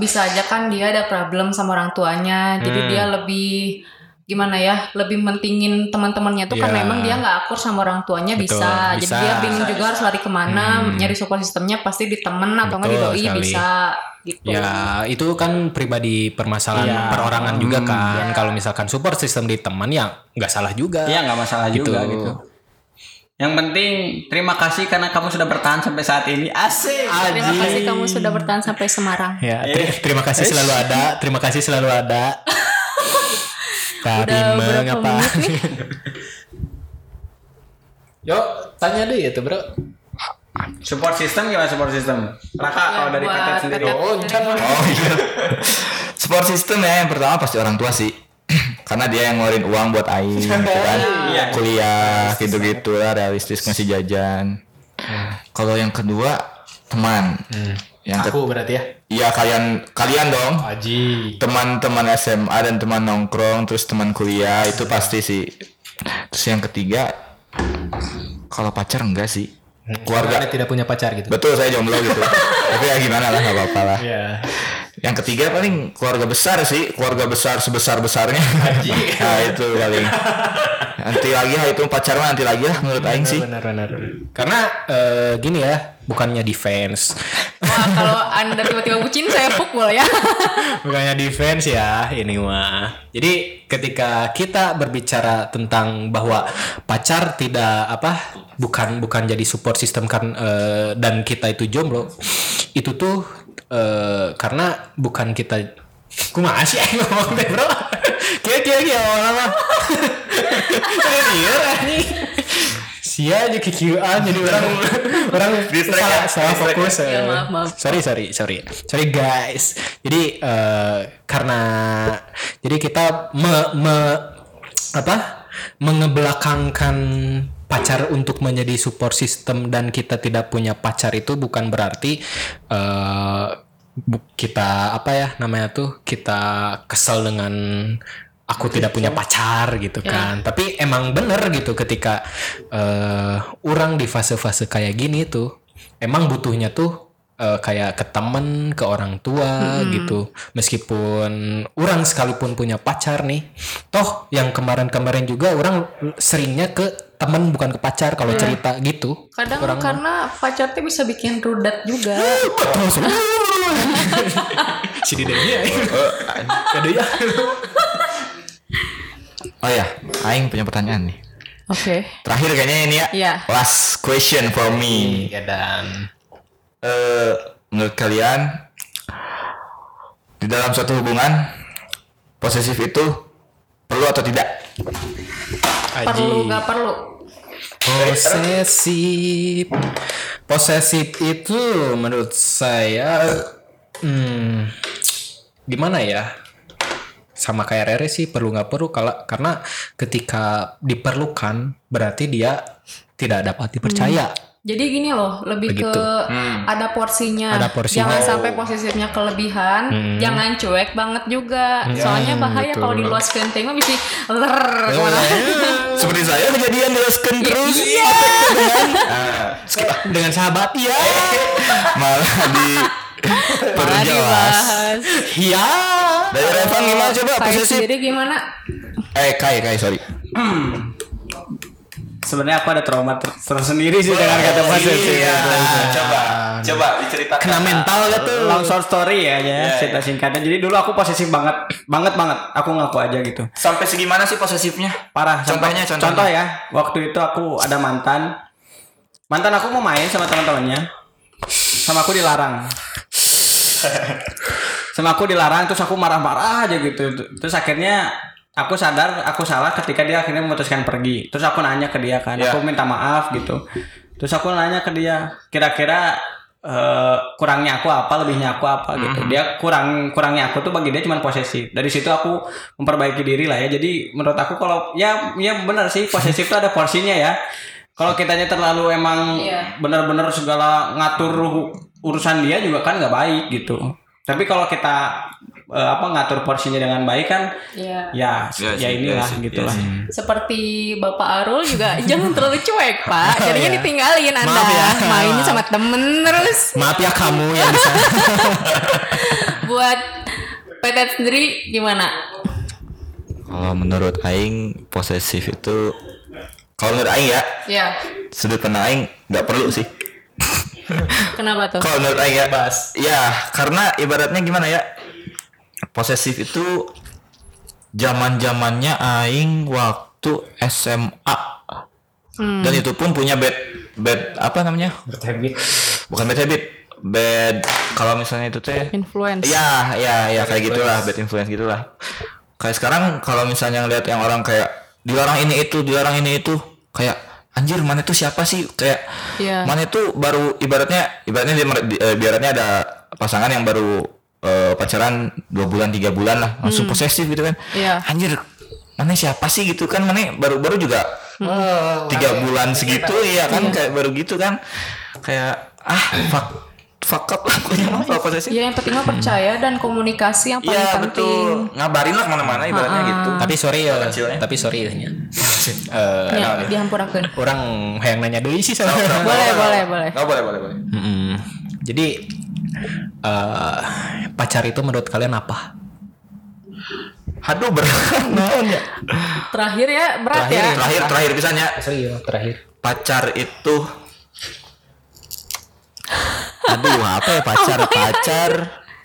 Speaker 2: bisa aja kan dia ada problem sama orang tuanya jadi dia
Speaker 4: Hmm.
Speaker 2: lebih gimana ya lebih mentingin teman-temannya tuh kan
Speaker 4: Iya.
Speaker 2: memang dia nggak akur sama orang tuanya
Speaker 4: Betul,
Speaker 2: bisa. jadi
Speaker 4: bisa. Hmm.
Speaker 2: dia bingung juga harus lari kemana nyari support sistemnya pasti di temen atau nggak di
Speaker 4: Betul
Speaker 2: doi
Speaker 4: sekali.
Speaker 2: bisa gitu
Speaker 4: Ya itu kan pribadi permasalahan
Speaker 2: Ya.
Speaker 5: Iya.
Speaker 4: perorangan juga
Speaker 2: Hmm,
Speaker 4: kan. Kalau misalkan support system di teman ya nggak salah juga.
Speaker 5: Iya nggak masalah
Speaker 4: Gitu.
Speaker 5: juga gitu. Yang penting terima kasih karena kamu sudah bertahan sampai saat ini. Asik.
Speaker 2: terima kasih kamu sudah bertahan sampai Semarang
Speaker 4: Ya, ter- terima kasih selalu ada. Terima kasih selalu ada. Tapi
Speaker 2: Udah berapa
Speaker 4: mengapa?
Speaker 2: menit
Speaker 4: Yo, tanya deh itu bro.
Speaker 5: Support system gimana support system? Raka
Speaker 2: Ya,
Speaker 5: kalau dari
Speaker 2: buat
Speaker 5: kakak sendiri.
Speaker 2: kakak
Speaker 5: Oh,
Speaker 2: sendiri.
Speaker 3: Oh iya. Support system ya yang pertama pasti orang tua sih. Karena dia yang ngeluarin uang buat Aing gitu kan.
Speaker 5: Iya.
Speaker 3: Kuliah gitu-gitu lah realistis ngasih jajan. Kalau yang kedua teman. Yang ke-
Speaker 4: berarti ya.
Speaker 3: Iya kalian kalian dong
Speaker 6: Aji.
Speaker 3: teman-teman SMA dan teman nongkrong terus teman kuliah itu pasti sih terus yang ketiga kalau pacar enggak sih
Speaker 6: Karena
Speaker 3: keluarga
Speaker 6: Anda tidak punya pacar gitu.
Speaker 3: betul saya jomblo gitu tapi ya gimana lah nggak apa-apa lah
Speaker 4: Ya,
Speaker 6: Iya.
Speaker 3: yang ketiga paling keluarga besar sih keluarga besar sebesar besarnya nah itu paling nanti lagi lah itu pacar mah nanti lagi lah menurut Aing sih
Speaker 6: Benar-benar.
Speaker 4: Karena eh, gini ya, bukannya defense,
Speaker 2: Wah kalau anda tiba-tiba bucin saya pukul ya.
Speaker 4: bukannya defense ya ini mah. Jadi ketika kita berbicara tentang bahwa pacar tidak apa, bukan bukan jadi support system kan eh, dan kita itu jomblo, itu tuh eh, karena bukan kita kumaha sih aing ngomong teh bro kieu kieu kieu orang-orang Serius anjing Sia aja kikiuan jadi orang orang
Speaker 3: Distract
Speaker 4: salah,
Speaker 3: ya,
Speaker 4: salah
Speaker 3: distract
Speaker 4: fokus.
Speaker 2: ya. Ya,
Speaker 4: eh.
Speaker 2: maaf, maaf.
Speaker 4: Sorry sorry sorry sorry guys. Jadi eh, karena jadi kita me, me- apa mengebelakangkan pacar untuk menjadi support system dan kita tidak punya pacar itu bukan berarti eh, bu- kita apa ya namanya tuh kita kesel dengan aku tidak punya pacar gitu kan tapi emang bener gitu ketika eh orang di fase-fase kayak gini tuh emang butuhnya tuh eh, kayak ke temen ke orang tua gitu meskipun orang sekalipun punya pacar nih toh yang kemarin-kemarin juga orang seringnya ke temen bukan ke pacar kalau cerita gitu
Speaker 2: Kadang karena pacar tuh bisa bikin rudat juga.
Speaker 4: si didenya kado ya
Speaker 3: oh ya Aing punya pertanyaan nih
Speaker 2: Oke.
Speaker 3: terakhir kayaknya ini ya
Speaker 2: Iya.
Speaker 3: last question for me
Speaker 1: ya,
Speaker 6: Dan
Speaker 3: eh menurut kalian di dalam suatu hubungan posesif itu perlu atau tidak?
Speaker 2: Perlu nggak perlu?
Speaker 4: Posesif. Posesif itu menurut saya hmm, gimana ya? Sama kayak Rere sih perlu nggak perlu kala- karena ketika diperlukan berarti dia tidak dapat dipercaya.
Speaker 2: Jadi gini loh, lebih
Speaker 4: Begitu.
Speaker 2: ke ada porsinya.
Speaker 4: Ada porsinya.
Speaker 2: Jangan sampai posesifnya kelebihan, jangan cuek banget juga. Soalnya bahaya kalau diluaskan tema bisa ler
Speaker 4: Eh,
Speaker 2: kemana.
Speaker 4: Iya.
Speaker 2: Iya.
Speaker 3: Seperti saya kejadian dilesken terus.
Speaker 4: Skip ah. dengan sahabat ya.
Speaker 3: Malah di
Speaker 2: Iya. Malah
Speaker 3: perjelas.
Speaker 2: dibahas.
Speaker 4: Ya.
Speaker 3: Dari Revan gimana coba
Speaker 2: Saya
Speaker 3: posesif?
Speaker 2: sendiri gimana?
Speaker 3: Eh kai kai sorry.
Speaker 5: Sebenarnya aku ada trauma ter- tersendiri sih dengan kata posesif.
Speaker 1: Ah, coba coba diceritakan
Speaker 4: Kena mental gitu.
Speaker 5: Long short story ya, ya cerita singkatnya. Jadi dulu aku posesif banget, banget banget. Aku ngaku aja gitu.
Speaker 3: Sampai segimana sih posesifnya?
Speaker 5: Parah.
Speaker 3: Contohnya,
Speaker 5: Contoh-
Speaker 3: contohnya.
Speaker 5: Contoh ya, waktu itu aku ada mantan. Mantan aku mau main sama teman-temannya. Sama aku dilarang. sama aku dilarang terus aku marah-marah aja gitu. Terus akhirnya aku sadar aku salah ketika dia akhirnya memutuskan pergi. Terus aku nanya ke dia kan, aku minta maaf gitu. Terus aku nanya ke dia, kira-kira eh, kurangnya aku apa, lebihnya aku apa gitu. Dia kurang kurangnya aku tuh bagi dia cuma posesif. Dari situ aku memperbaiki diri lah ya. Jadi menurut aku kalau ya ya benar sih posesif tuh ada porsinya ya. Kalau kitanya terlalu emang
Speaker 2: Iya.
Speaker 5: benar-benar segala ngatur ru- urusan dia juga kan nggak baik gitu. Tapi kalau kita eh, apa ngatur porsinya dengan baik kan
Speaker 2: Iya.
Speaker 5: ya ya, inilah gitu lah.
Speaker 2: Seperti Bapak Arul juga jangan terlalu cuek Pak, jadinya ditinggalin Anda mainnya sama temen terus.
Speaker 4: Maaf ya kamu yang di sana.
Speaker 2: Buat PT sendiri gimana?
Speaker 3: Kalau menurut Aing posesif itu kalau menurut Aing ya
Speaker 2: Ya,
Speaker 3: sudut pandang Aing nggak perlu sih.
Speaker 2: kenapa tuh?
Speaker 3: Kalau menurut Aing ya, ya karena ibaratnya gimana ya, posesif itu zaman zamannya Aing waktu SMA dan itu pun punya bad bad apa namanya? Bad habit. Bukan bad habit, bad kalau misalnya itu teh
Speaker 2: Influence.
Speaker 3: Ya, ya, ya kayak gitulah, bad influence gitulah. Kayak sekarang kalau misalnya ngeliat yang orang kayak dilarang ini itu, dilarang ini itu, kayak anjir mana itu siapa sih? Kayak
Speaker 2: Iya.
Speaker 3: mana itu baru ibaratnya ibaratnya dia mer- di- eh, ibaratnya ada pasangan yang baru eh, pacaran dua bulan tiga bulan lah langsung posesif gitu kan?
Speaker 2: Hmm. Iya.
Speaker 3: Anjir mana siapa sih gitu kan? Mana baru-baru juga
Speaker 2: Hmm.
Speaker 3: Oh,
Speaker 2: Iya.
Speaker 3: iya gitu tiga bulan segitu ya kan kayak baru gitu kan kayak ah fuck fuck up lah pokoknya mah kalau posesif.
Speaker 2: Ya yang penting mah percaya dan komunikasi yang paling
Speaker 3: Iya
Speaker 2: penting.
Speaker 3: betul. Ngabarin lah kemana-mana ibaratnya gitu.
Speaker 4: Tapi sorry ya,
Speaker 3: Kecilnya.
Speaker 4: tapi sorry ya. nya. Eh,
Speaker 3: Nah,
Speaker 2: Ya, dihampurakeun.
Speaker 4: orang yang nanya dulu sih sama.
Speaker 3: Oh. Nah,
Speaker 2: Boleh, boleh, boleh.
Speaker 3: Nggak boleh boleh boleh.
Speaker 4: Mm-mm. Jadi eh pacar itu menurut kalian apa?
Speaker 3: Aduh berat naon ya.
Speaker 2: Terakhir ya berat ya.
Speaker 3: Terakhir terakhir pisannya
Speaker 6: Sorry ya, terakhir.
Speaker 3: pacar itu Aduh apa ya pacar pacar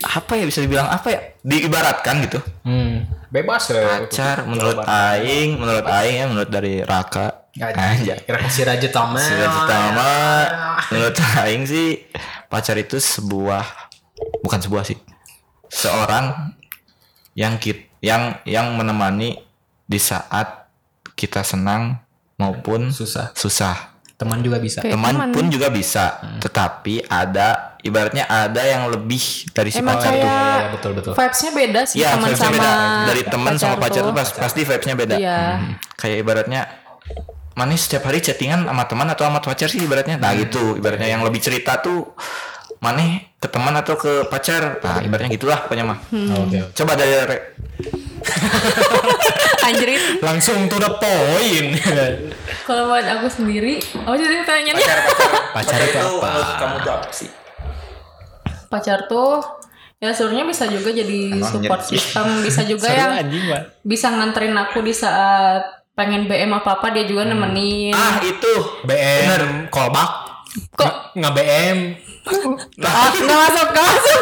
Speaker 3: apa ya bisa dibilang apa ya diibaratkan gitu
Speaker 6: Hmm, bebas lah.
Speaker 3: pacar menurut Aing menurut Aing ya menurut dari Raka
Speaker 6: Aja. Kira si Raja Tama.
Speaker 3: Sudah
Speaker 2: Oh,
Speaker 3: pertama
Speaker 2: iya.
Speaker 3: menurut Aing sih pacar itu sebuah bukan sebuah sih seorang yang kit yang yang menemani di saat kita senang maupun
Speaker 6: Susah.
Speaker 3: susah
Speaker 6: Teman juga bisa.
Speaker 2: Oke,
Speaker 3: teman pun juga bisa tetapi ada ibaratnya ada yang lebih dari si
Speaker 2: Emang
Speaker 3: pacar tuh
Speaker 2: kayak
Speaker 6: Iya, betul betul.
Speaker 2: vibes-nya beda sih
Speaker 3: Iya,
Speaker 2: teman
Speaker 3: vibes-nya
Speaker 2: sama
Speaker 3: beda. dari teman sama pacar tuh
Speaker 2: tuh.
Speaker 3: pas, pasti vibes-nya beda. Hmm.
Speaker 2: Iya.
Speaker 3: Kayak ibaratnya manis setiap hari chattingan sama teman atau sama pacar sih ibaratnya. Nah, gitu. Ibaratnya yang lebih cerita tuh maneh ke teman atau ke pacar. Nah, ibaratnya gitulah pokoknya mah.
Speaker 2: Hmm.
Speaker 6: Oke.
Speaker 3: Coba dari Re-
Speaker 2: Anjrit.
Speaker 4: Langsung to the point.
Speaker 2: Kalau buat aku sendiri, oh jadi pertanyaannya
Speaker 1: Pacar, pacar,
Speaker 4: Pacar itu apa?
Speaker 1: menurut kamu tuh apa sih?
Speaker 2: pacar tuh ya sebenarnya bisa juga jadi support system, bisa juga yang bisa nganterin aku di saat pengen BM apa apa dia juga nemenin.
Speaker 3: Ah, itu.
Speaker 4: BM callback.
Speaker 2: Kok
Speaker 4: Nggak BM.
Speaker 2: ah, nggak masuk nggak masuk.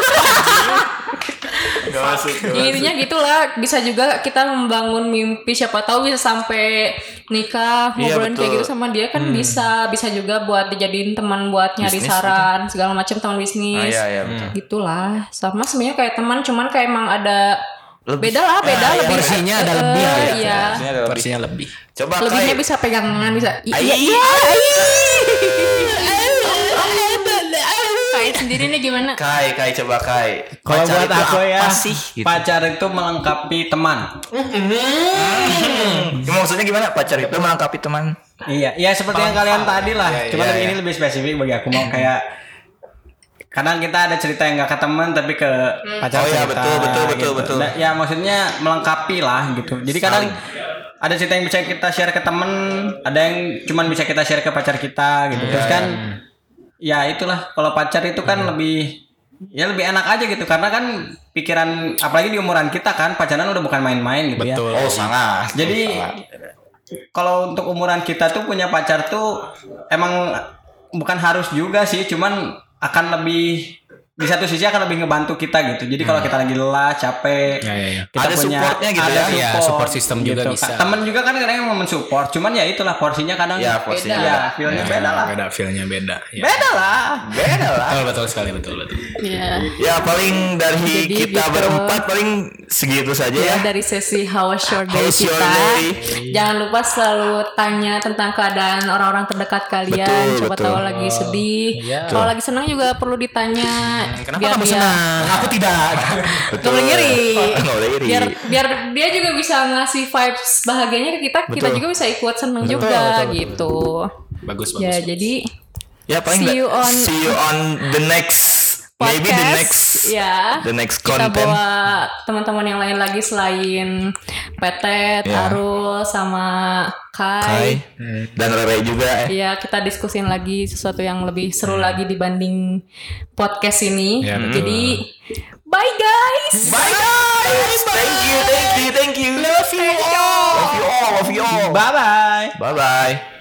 Speaker 3: Gak masuk.
Speaker 2: Ya, intinya gitulah bisa juga kita membangun mimpi siapa tahu bisa sampai nikah
Speaker 3: Iya,
Speaker 2: ngobrolin kayak
Speaker 3: betul.
Speaker 2: gitu sama dia kan bisa bisa juga buat dijadiin teman buat nyari
Speaker 3: Bisnis
Speaker 2: saran segala macam teman
Speaker 3: Ah,
Speaker 2: bisnis
Speaker 3: iya, iya, betul.
Speaker 2: gitulah sama sebenarnya kayak teman cuman kayak emang ada beda lah beda
Speaker 3: Ah, iya,
Speaker 2: lebih
Speaker 4: porsinya ada
Speaker 2: Eh,
Speaker 4: lebih lah ya.
Speaker 2: iya
Speaker 3: Maksudnya ada lebih.
Speaker 4: Versinya lebih.
Speaker 3: Coba
Speaker 2: lebihnya
Speaker 3: Kai.
Speaker 2: bisa pegangan bisa i-
Speaker 3: Ai.
Speaker 2: iya iya
Speaker 3: Ai.
Speaker 2: kayak sendiri nih gimana
Speaker 3: Kai, Kai coba Kai.
Speaker 5: Kalau
Speaker 3: Pacar
Speaker 5: buat
Speaker 3: itu
Speaker 5: aku
Speaker 3: apa
Speaker 5: ya,
Speaker 3: sih? Gitu.
Speaker 5: pacar itu melengkapi teman.
Speaker 3: Ya, maksudnya gimana? Pacar itu melengkapi teman.
Speaker 5: Iya, iya seperti yang kalian tadi lah. Cuma ini lebih spesifik bagi aku mau kayak kadang kita ada cerita yang gak ke teman tapi ke
Speaker 3: Oh
Speaker 5: pacar
Speaker 3: iya,
Speaker 5: cerita,
Speaker 3: betul, betul, betul,
Speaker 5: gitu.
Speaker 3: betul.
Speaker 5: Nah, ya maksudnya melengkapi lah gitu. Jadi kadang ada cerita yang bisa kita share ke temen, ada yang cuman bisa kita share ke pacar kita gitu. Terus kan ya itulah kalau pacar itu kan lebih ya lebih enak aja gitu karena kan pikiran apalagi di umuran kita kan pacaran udah bukan main-main gitu ya.
Speaker 3: Oh, sangat.
Speaker 5: Jadi kalau untuk umuran kita tuh punya pacar tuh emang bukan harus juga sih, cuman akan lebih di satu sisi akan lebih ngebantu kita gitu. Jadi kalau kita lagi lelah, capek,
Speaker 4: Ya,
Speaker 5: kita
Speaker 3: Ada supportnya gitu
Speaker 5: ada
Speaker 3: ya?
Speaker 5: support,
Speaker 4: Iya, support system juga bisa.
Speaker 5: Temen juga kan kadang yang mau mensupport, cuman ya itulah porsinya kadang
Speaker 3: Ya, porsinya
Speaker 5: beda. Ya, feel-nya beda lah.
Speaker 4: Beda feelnya beda. Ya.
Speaker 5: Beda lah.
Speaker 3: beda lah.
Speaker 4: Betul, betul sekali betul betul.
Speaker 2: ya
Speaker 3: Ya paling dari
Speaker 2: Jadi
Speaker 3: kita
Speaker 2: gitu.
Speaker 3: berempat paling segitu saja
Speaker 2: Ya,
Speaker 3: ya.
Speaker 2: dari sesi How's Your Day
Speaker 3: How's
Speaker 2: kita.
Speaker 3: Your Day?
Speaker 2: Jangan lupa selalu tanya tentang keadaan orang-orang terdekat kalian.
Speaker 3: Betul,
Speaker 2: Coba
Speaker 3: betul.
Speaker 2: tahu lagi
Speaker 4: Oh,
Speaker 2: sedih.
Speaker 4: iya.
Speaker 2: Kalau lagi senang juga perlu ditanya.
Speaker 3: Hmm,
Speaker 4: Kenapa kamu senang? Aku tidak.
Speaker 2: Gak boleh ngiri.
Speaker 3: Nggak boleh ngiri.
Speaker 2: Biar, biar dia juga bisa ngasih vibes bahagianya ke kita, kita
Speaker 3: Betul.
Speaker 2: juga bisa ikut seneng juga gitu.
Speaker 4: bagus
Speaker 2: Ya,
Speaker 4: bagus.
Speaker 2: jadi
Speaker 3: Ya paling
Speaker 2: See
Speaker 3: nggak-
Speaker 2: you on-
Speaker 3: see you on the next
Speaker 2: podcast
Speaker 3: maybe the next
Speaker 2: ya.
Speaker 3: the next
Speaker 2: kita
Speaker 3: content.
Speaker 2: bawa teman-teman yang lain lagi selain Petet,
Speaker 3: Ya.
Speaker 2: Arul, sama
Speaker 3: Kai dan Rere juga. eh.
Speaker 2: Iya, kita diskusin lagi sesuatu yang lebih seru lagi dibanding podcast ini.
Speaker 6: Iya, betul.
Speaker 2: Jadi, bye guys.
Speaker 3: Bye guys. Thank you, thank you, thank you. Love you all. Love you all, love you all.
Speaker 5: Bye bye.
Speaker 3: Bye bye.